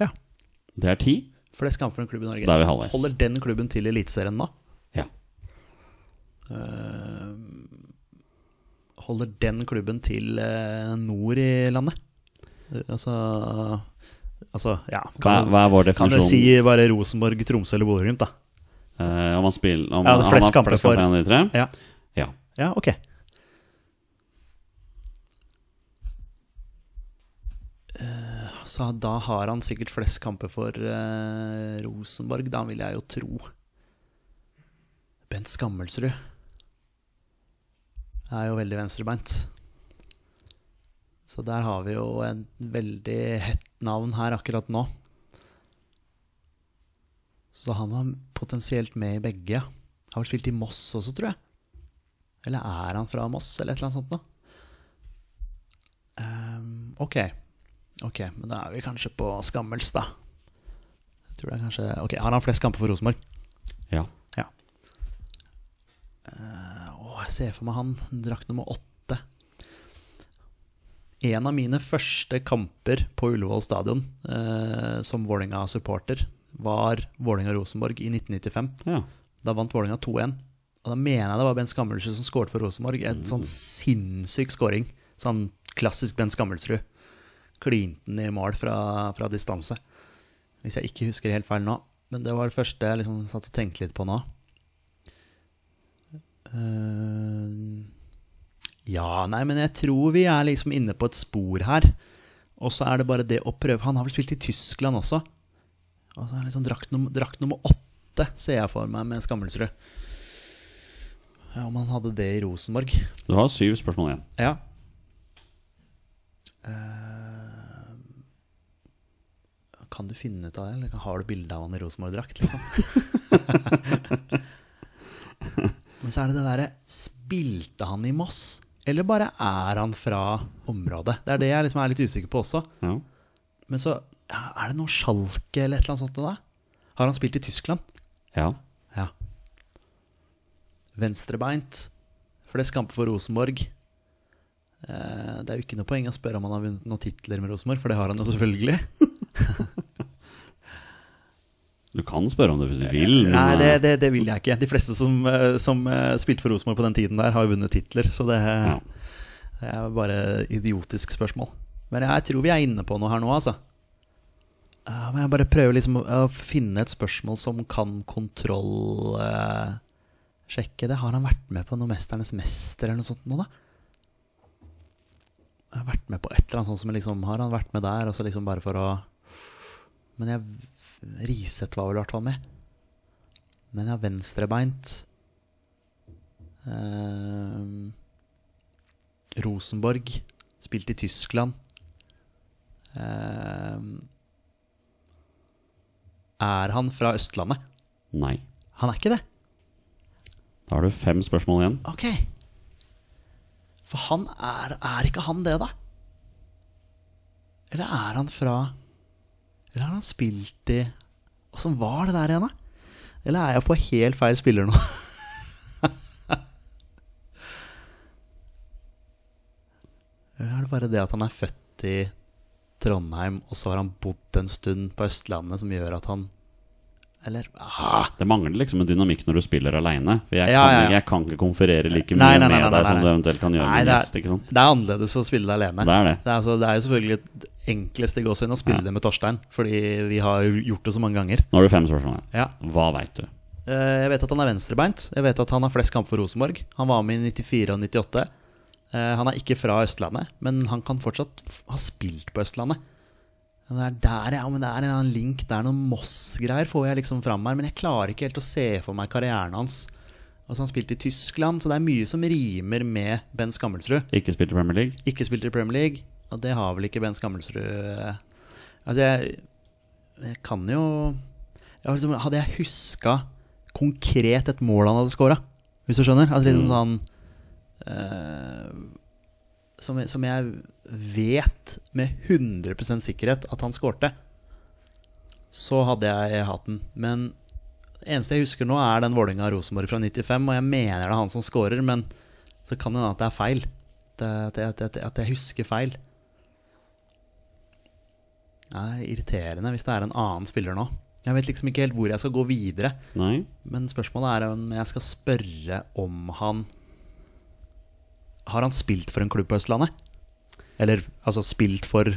Ja.
Det er ti.
Flest kamper for en klubb i Norge.
Så da er vi halvveis.
Holder den klubben til i Eliteserien nå?
Ja.
Holder den klubben til eh, nord i landet? Eh, altså Altså, ja.
Hva,
Kan,
hva er vår
kan
definisjon?
dere si bare Rosenborg, Tromsø eller Bodø-Glimt, da?
Eh, om han spiller om,
Ja, det er
han
flest
har
kamper for-
enn de tre?
Ja.
Ja.
Ja, ok. Eh, Så da har han sikkert flest kamper for eh, Rosenborg, da vil jeg jo tro. Bent Skammelsrud er jo veldig venstrebeint. Så der har vi jo en veldig hett navn her akkurat nå. Så han var potensielt med i begge. ja. Har vel spilt i Moss også, tror jeg. Eller er han fra Moss, eller et eller annet sånt noe? Ehm, ok. Ok, men da er vi kanskje på Skammels, da. Jeg tror det er kanskje Ok, Har han flest kamper for Rosenborg?
ja.
Ja. Eh, Åh, jeg ser for meg han. Drakt nummer åtte. En av mine første kamper på Ullevål stadion eh, som Vålerenga-supporter var Vålerenga-Rosenborg i 1995.
ja.
Da vant Vålerenga 2-1. Og da mener jeg det var Bent Skammelsrud som skåret for Rosenborg. En sånn sinnssyk skåring. Sånn klassisk Bent Skammelsrud. Klinte den i mål fra, fra distanse. Hvis jeg ikke husker helt feil nå. Men det var det første jeg liksom satt og tenkte litt på nå. Eh, ja, nei, men jeg tror vi er liksom inne på et spor her. Og så er det bare det å prøve Han har vel spilt i Tyskland også. Og så er det liksom drakt, num drakt nummer åtte, ser jeg for meg, med Skammelsrud. Ja, Om han hadde det i Rosenborg.
Du har syv spørsmål igjen.
Ja. Eh, kan du finne ut av det, eller har du bilde av han i Rosenborg-drakt, liksom? Men så er det det derre Spilte han i Moss? Eller bare er han fra området? Det er det jeg liksom er litt usikker på også.
Ja.
Men så ja, er det noe Schalke eller et eller annet sånt noe da? Har han spilt i Tyskland?
ja.
Ja. Venstrebeint. Flest kamper for Rosenborg. Eh, Det er jo ikke noe poeng å spørre om han har vunnet noen titler med Rosenborg, for det har han jo selvfølgelig.
Du kan spørre om det hvis du vil. Men,
Nei, det,
eh,
det, det vil jeg ikke. De fleste som, eh, som eh, spilte for Rosenborg på den tiden der, har jo vunnet titler, så det,
eh, Ja.
det er jo bare idiotisk spørsmål. Men jeg tror vi er inne på noe her nå, altså. Ja, men jeg bare prøver liksom å å finne et spørsmål som kan kontroll... eh, sjekke det. Har han vært med på noe Mesternes mester eller noe sånt nå, da? Har han vært med på et eller annet sånt som jeg liksom Har han vært med der, og så liksom bare for å Men jeg Riseth var vel i hvert fall med. Men jeg har venstrebeint. Ehm, Rosenborg. Spilt i Tyskland. Ehm, er han fra Østlandet?
Nei.
Han er ikke det.
Da har du fem spørsmål igjen.
Ok. For han er Er ikke han det, da? Eller er han fra Eller har han spilt i Åssen var det der igjen, da? Eller er jeg på helt feil spiller nå? Eller er det bare det at han er født i Trondheim, og så har han bodd en stund på Østlandet, som gjør at han Eller ah,
Det mangler liksom en dynamikk når du spiller aleine. Jeg,
Ja,
kan-
ja, ja.
jeg kan ikke konferere like mye
Nei, nei, nei, nei,
med
nei,
deg som
nei.
du eventuelt kan gjøre
Nei,
med
det
en
er-
gjest. ikke sant?
Det er annerledes å spille alene.
Det er det.
Det er, altså, det er jo selvfølgelig det enkleste i gåseøynene å spille det med Torstein, fordi vi har gjort det så mange ganger.
Nå har du fem spørsmål. igjen.
Ja.
Hva veit du?
Eh, Jeg vet at han er venstrebeint. Jeg vet at han har flest kamper for Rosenborg. Han var med i 94 og 98. Eh, Han er ikke fra Østlandet, men han kan fortsatt f- ha spilt på Østlandet. Men Det er der, ja, men det er en eller annen link, det er noen Moss-greier får jeg liksom fram her, men jeg klarer ikke helt å se for meg karrieren hans. Altså Han spilte i Tyskland, så det er mye som rimer med Ben Skammelsrud.
Ikke spilt i Premier League?
Ikke spilt i Premier League. Og det har vel ikke Ben Skammelsrud eh, Altså, jeg, jeg kan jo jeg har liksom, Hadde jeg huska konkret et mål han hadde scora, hvis du skjønner? Altså liksom sånn eh, som, som jeg vet med 100 sikkerhet at han skårte, så hadde jeg hatt den. Men det eneste jeg husker nå, er den Vålerenga-Rosenborg fra 95, og jeg mener det er han som scorer, men så kan det hende at det er feil. At, at, at, at, at jeg husker feil. Ja, Det er irriterende hvis det er en annen spiller nå. Jeg vet liksom ikke helt hvor jeg skal gå videre.
Nei?
Men spørsmålet er om jeg skal spørre om han Har han spilt for en klubb på Østlandet? Eller altså spilt for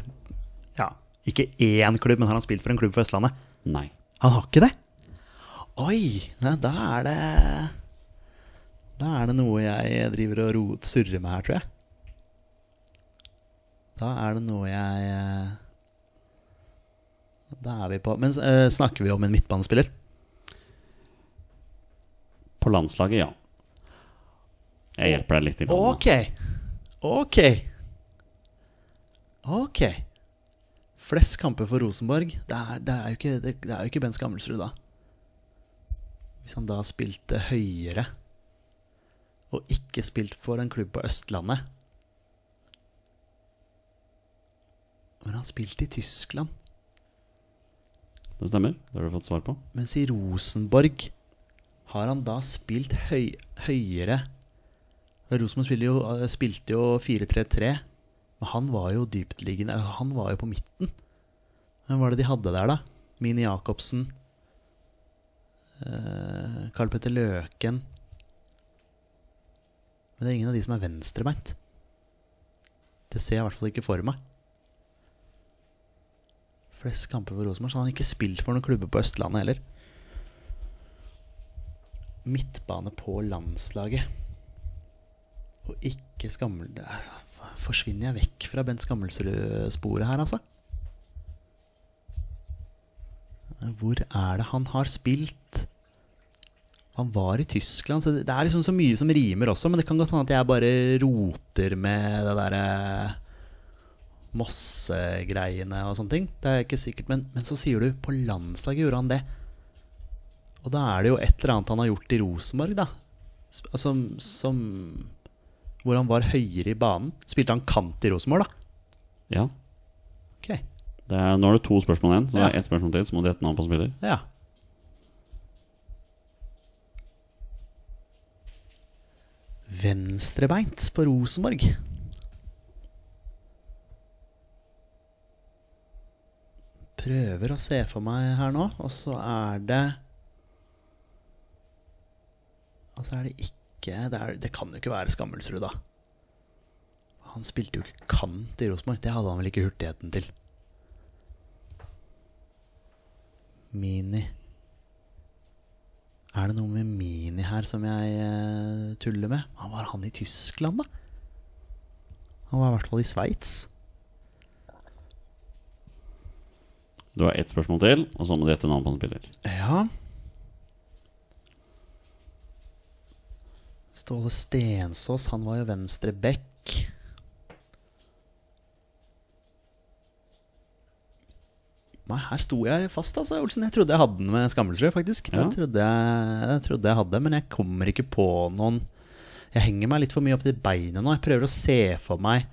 Ja, ikke én klubb, men har han spilt for en klubb på Østlandet?
Nei.
Han har ikke det? Oi! Nei, da er det Da er det noe jeg driver og rot, surrer med her, tror jeg. Da er det noe jeg eh, Da er vi på Men eh, snakker vi om en midtbanespiller?
På landslaget, ja. Jeg hjelper deg litt. i landet.
Ok. Ok. Ok. Flest kamper for Rosenborg. Det er, det er, jo, ikke, det, det er jo ikke Ben Skammelsrud, da. Hvis han da spilte høyere, og ikke spilt for en klubb på Østlandet Men han spilte i Tyskland.
Det stemmer. Det har du fått svar på.
Mens i Rosenborg har han da spilt høy, høyere Rosenborg spiller jo, eh, spilte jo 4-3-3, men han var jo dyptliggende eller Han var jo på midten. Hvem var det de hadde der, da? Mini Jacobsen. eh, Karl Petter Løken. Men det er ingen av de som er venstrebeint. Det ser jeg i hvert fall ikke for meg. Flest kamper for Rosenborg, så han har ikke spilt for noen klubber på Østlandet heller. Midtbane på landslaget. Og ikke skammel... det er- Forsvinner jeg vekk fra Bent Skammelsrud-sporet her, altså? Hvor er det han har spilt? Han var i Tyskland, så det det er liksom så mye som rimer også, men det kan godt hende at jeg bare roter med det eh, derre Mossegreiene og sånne ting. Det er ikke sikkert, men, men så sier du på landslaget gjorde han det. Og da er det jo et eller annet han har gjort i Rosenborg, da. S- Altså, som Hvor han var høyere i banen. Spilte han kant i Rosenborg, da?
Ja.
Ok,
Det er, nå har du to spørsmål igjen, så det
Ja.
er ett spørsmål til. Så må du gjette navn på spiller.
ja. Venstrebeint på Rosenborg. Prøver å se for meg her nå, og så er det Og så er det ikke Det, er, det kan jo ikke være Skammelsrud, da. Han spilte jo ikke kant i Rosenborg. Det hadde han vel ikke hurtigheten til. Mini Er det noe med Mini her som jeg eh, tuller med? Han var han i Tyskland, da? Han var i hvert fall i Sveits.
Du har ett spørsmål til, og så må du gjette navn på en spiller.
Ja. Ståle Stensås, han var jo venstre back. Nei, her sto jeg fast, altså, Olsen. Jeg trodde jeg hadde den med Skammelsrud, faktisk.
Ja.
Det trodde jeg, jeg trodde jeg hadde, men jeg kommer ikke på noen Jeg henger meg litt for mye opp til beinet nå. Jeg prøver å se for meg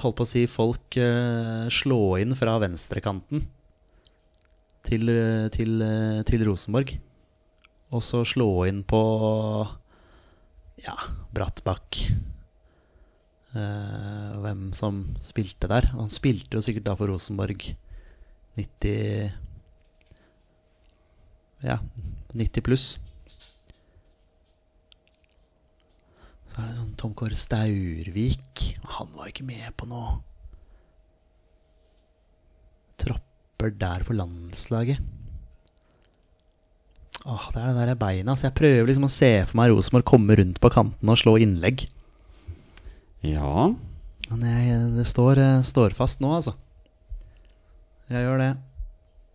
Holdt på å si folk eh, slå inn fra venstrekanten til, eh, til, eh, til Rosenborg. Og så slå inn på ja, Brattbakk. Eh, hvem som spilte der. Og han spilte jo sikkert da for Rosenborg 90 Ja, 90 pluss. Så er det sånn Tom Kåre Staurvik. Han var ikke med på noe Tropper der på landslaget. Åh, det er det der beina. Så jeg prøver liksom å se for meg Rosenborg komme rundt på kantene og slå innlegg.
Ja.
Men jeg, det står, eh, står fast nå, altså. Jeg gjør det.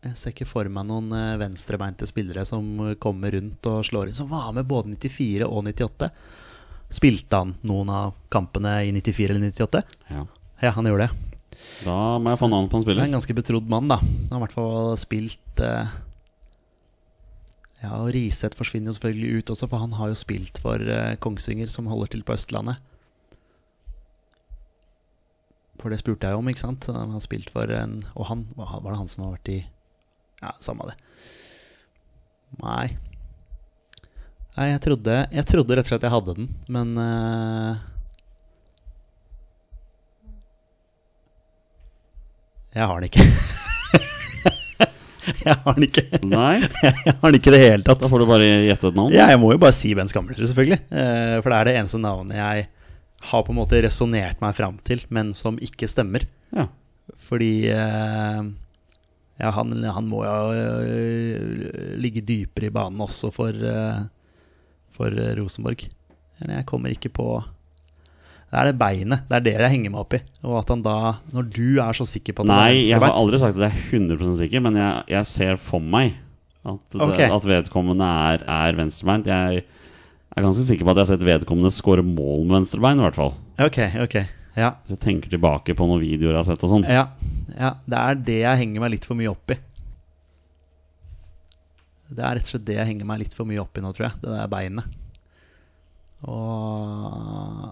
Jeg ser ikke for meg noen eh, venstrebeinte spillere som eh, kommer rundt og slår inn. Som var med både 94 og 98. Spilte han noen av kampene i 94 eller 98?
ja.
Ja, han gjorde det.
Da må jeg få navnet på en
Det er
spiller.
en ganske betrodd mann, da. Han har i hvert fall spilt eh, Ja, og Riseth forsvinner jo selvfølgelig ut også, for han har jo spilt for eh, Kongsvinger, som holder til på Østlandet. For det spurte jeg jo om, ikke sant? Han har spilt for en Og han, var var det han som har vært i Ja, samme det. Nei. Nei, jeg trodde, jeg trodde rett og slett jeg hadde den, men eh, jeg har den ikke. jeg har den ikke.
Nei,
Jeg har den ikke i det hele tatt.
da får du bare gjette et navn.
Ja, jeg må jo bare si Ben Skammelsrud, selvfølgelig. Eh, For det er det eneste navnet jeg har på en måte resonnert meg fram til, men som ikke stemmer.
Ja.
Fordi eh, ja, han, han må jo eh, ligge dypere i banen også for, eh, for eh, Rosenborg. Men jeg kommer ikke på Det er det beinet. Det er det jeg henger meg opp i. Og at han da, når du er så sikker på at han er
Nei, jeg har
venstrebeint-
aldri sagt at jeg er 100 sikker, men jeg, jeg ser for meg at, det,
Ok.
at vedkommende er, er venstrebeint. Jeg er ganske sikker på at jeg har sett vedkommende skåre mål med venstrebein, i hvert fall.
Ok, ok. Ja,
Hvis jeg tenker tilbake på noen videoer jeg har sett og sånn.
Ja, ja, det er det jeg henger meg litt for mye opp i. Det er rett og slett det jeg henger meg litt for mye opp i nå, tror jeg. Det der beinet. Og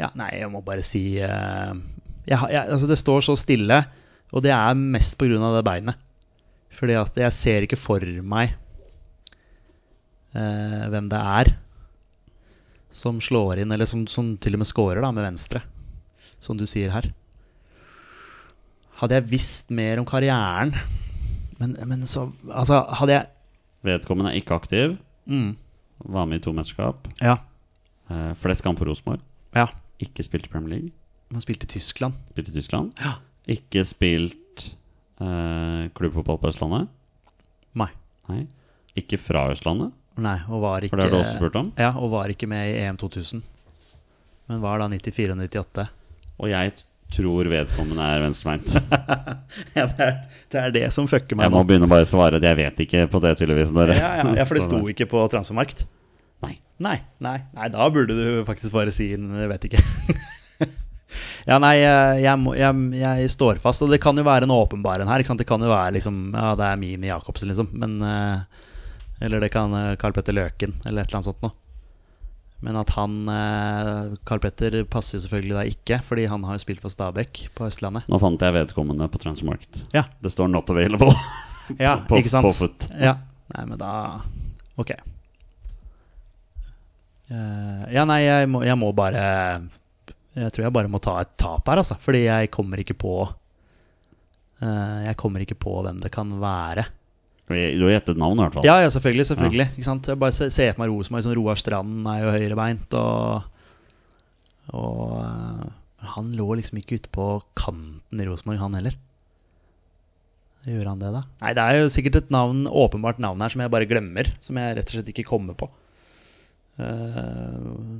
Ja, nei, jeg må bare si eh, jeg, har- jeg, Altså, det står så stille, og det er mest på grunn av det beinet. Fordi at jeg ser ikke for meg eh, hvem det er som slår inn, eller som, som til og med scorer, da, med venstre som du sier her. Hadde jeg visst mer om karrieren Men, men så Altså, hadde jeg
Vedkommende er ikke aktiv.
mm,
Var med i to mesterskap.
Ja.
Eh, flest kamp for Rosenborg.
ja.
Ikke spilt i Premier League.
Man spilte i Tyskland.
Spilt i Tyskland.
Ja.
Ikke spilt eh, klubbfotball på Østlandet.
Nei.
Nei. Ikke fra Østlandet,
Nei, og var ikke
for det har du også spurt om.
Ja, og var ikke med i EM 2000. Men var da 94 og 98.
Og jeg t- tror vedkommende er venstrebeint.
Ja, det er det, er det som fucker meg
Jeg må
nå.
begynne å bare svare at jeg vet ikke på det, tydeligvis. Dere.
Ja, ja, ja, for
Sånn
det sto ikke på transfermarkt.
Nei.
Nei, nei, nei, da burde du faktisk bare si en, jeg vet ikke. ja, nei, jeg, jeg, må- jeg, jeg står fast, og det kan jo være en åpenbar en her. Ikke sant? Det kan jo være liksom Ja, det er Mini Jacobsen, liksom. Men eh, Eller det kan eh, Karl Petter Løken, eller et eller annet sånt noe. Men at han eh, Karl Petter passer jo selvfølgelig da ikke, fordi han har jo spilt for Stabæk på Østlandet.
Nå fant jeg vedkommende på Transmarket.
Ja.
Det står 'not available'.
Ja,
På-
ikke sant?
på fot.
Ja. Nei, men da Ok. Eh, ja, nei, jeg må, jeg må bare Jeg tror jeg bare må ta et tap her, altså. Fordi jeg kommer ikke på eh, Jeg kommer ikke på hvem det kan være.
Du har gjettet navn, i hvert fall.
Ja, ja, selvfølgelig. selvfølgelig Ikke sant? Jeg bare se- ser for meg Rosenborg sånn Roar Strand er jo høyrebeint, og, og eh, Han lå liksom ikke ute på kanten i Rosenborg, han heller. Gjør han det, da? Nei, det er jo sikkert et navn, åpenbart navn her som jeg bare glemmer. Som jeg rett og slett ikke kommer på. Eh,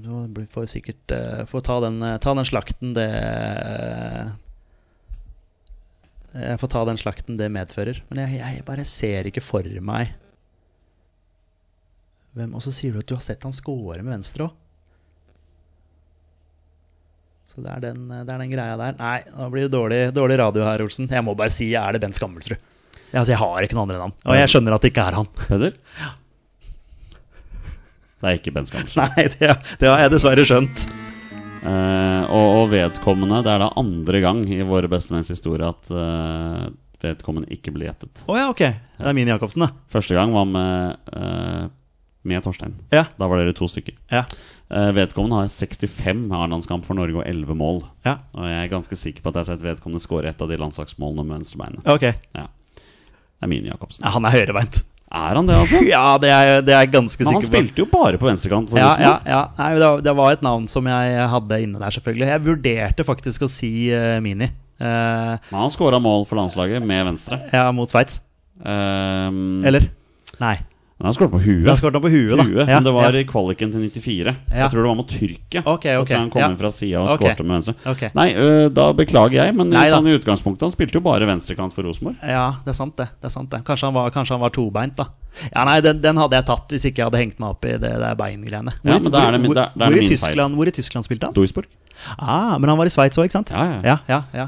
Du blir- får sikkert eh, Får ta den, eh, ta den slakten det eh, Jeg får ta den slakten det medfører. Men jeg, jeg bare ser ikke for meg hvem Og så sier du at du har sett han score med venstre òg. Så det er, den, det er den greia der. Nei, da blir det dårlig, dårlig radio her, Olsen. Jeg må bare si er det Bent Skammelsrud. Ja, Altså, jeg har ikke noen andre navn. Og jeg skjønner at det ikke er han.
Peder? Det er ikke Ben Skammersen.
Nei, det, det har jeg dessverre skjønt.
Eh, og, og vedkommende Det er da andre gang i våre bestemenns historie at eh, vedkommende ikke blir gjettet.
Å ja, ok. Det er min Jacobsen, da.
Første gang var med, eh, med Torstein.
Ja.
Da var dere to stykker.
Ja.
Eh, vedkommende har 65 A-landskamp for Norge og 11 mål.
ja.
Og jeg er ganske sikker på at jeg har sett vedkommende skåre et av de landslagsmålene med venstrebeinet.
Ok.
Ja. Det er min Jacobsen.
Ja, han er høyrebeint.
Er han det, altså?
Ja, det er, det er jeg ganske
Men han
sikker på.
spilte jo bare på venstrekant. for
Ja,
Rosenborg.
ja, ja. Nei, det, var, det var et navn som jeg hadde inne der, selvfølgelig. Jeg vurderte faktisk å si eh, Mini. Eh,
Men han skåra mål for landslaget med venstre.
ja, mot Sveits.
Ehm,
Eller? Mm. Nei.
Men han skåra på huet.
Da skåret han på huet, da.
Huet,
Ja,
men det var
ja.
i kvaliken til 94.
Ja.
Jeg tror det var mot Tyrkia.
Ok, ok,
At han kom
ja.
inn fra sida og
Ok.
skårte med venstre.
Ok.
Nei, øh, da beklager jeg, men
Nei da.
sånn i utgangspunktet Han spilte jo bare venstrekant for Rosenborg.
ja, det er sant, det. det, er sant, det. Kanskje, han var, kanskje han var tobeint, da. Ja, Nei, den, den hadde jeg tatt hvis ikke jeg hadde hengt meg opp i det der beingreiene.
Ja, men da er det min-
hvor,
da- da er det
hvor, i
min feil.
Tyskland, hvor i Tyskland spilte han?
Duisburg.
Ah, men han var i Sveits òg, ikke sant?
Ja, ja.
ja, ja, ja.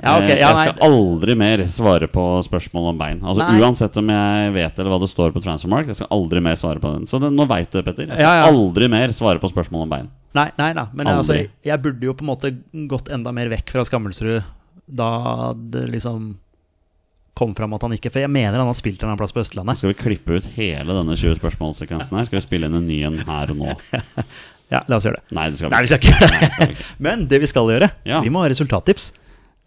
ja ok,
Eh,
ja,
jeg
nei,
skal aldri mer svare på spørsmål om bein. Altså
Nei.
Uansett om jeg vet eller hva det står på Transfermark. Jeg skal aldri mer svare på den. Så det, nå veit du det, Petter. Jeg skal
Ja, ja.
aldri mer svare på spørsmål om bein.
nei, nei da. Men jeg, altså,
Aldri.
jeg burde jo på en måte gått enda mer vekk fra Skammelsrud da det liksom kom fram at han ikke For jeg mener han har spilt en eller annen plass på Østlandet.
Skal vi klippe ut hele denne 20 spørsmålssekvensen her? Skal vi spille inn en ny en her og nå?
Ja, la oss gjøre det.
Nei, det skal vi
Nei, vi
ikke.
skal ikke gjøre det. Men det vi skal gjøre,
Ja.
vi må ha resultattips.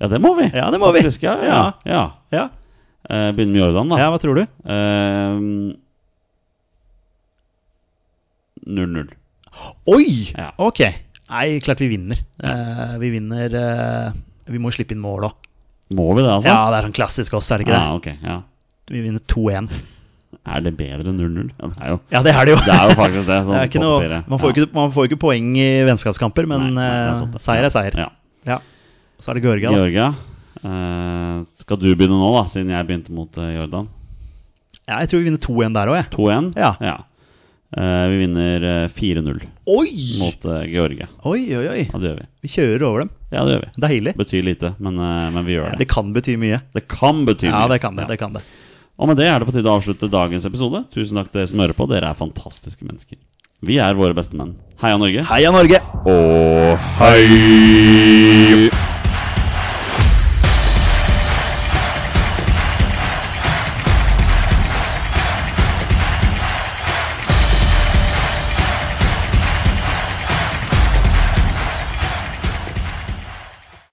Ja, det må vi.
Ja, det må vi.
Faktisk, ja, ja. ja.
Ja.
Eh, Begynner med Jordan, da.
ja, hva tror du?
Ehm, 0-0.
Oi!
Ja.
Ok. Nei, klart vi vinner. Eh, vi vinner eh, Vi må jo slippe inn mål òg.
Må vi det, altså?
Ja, det er sånn klassisk oss, er det ikke
Ah, ok, ja.
det? Vi vinner 2-1.
Er det bedre enn 0-0? Ja, det er jo
Ja, det er det jo.
Det er jo faktisk det.
Det
Sånn
er ikke
på
noe,
papiret.
man, får jo ikke, man får jo ikke poeng i vennskapskamper, men
Nei, nei, det
eh,
sant, det.
seier er seier.
Ja.
Ja. Så er det Georgia, da.
Georgia. eh, skal du begynne nå, da, siden jeg begynte mot eh, Jordan?
Ja, jeg tror vi vinner 2-1 der òg, jeg.
2-1.
Ja.
Eh, vi vinner eh, 4-0
Oi!
mot eh, Georgia.
Oi, oi, oi.
Ja, det gjør vi.
Vi kjører over dem.
Ja, det gjør vi.
Deilig.
Betyr lite, men, eh, men vi gjør
Det
det.
kan bety mye.
Det kan bety
Ja,
mye.
det kan det.
Ja.
det kan det
Og med det er det på tide å avslutte dagens episode. Tusen takk til dere som hører på. Dere er fantastiske mennesker. Vi er våre beste menn. Heia Norge.
Heia Norge!
Og hei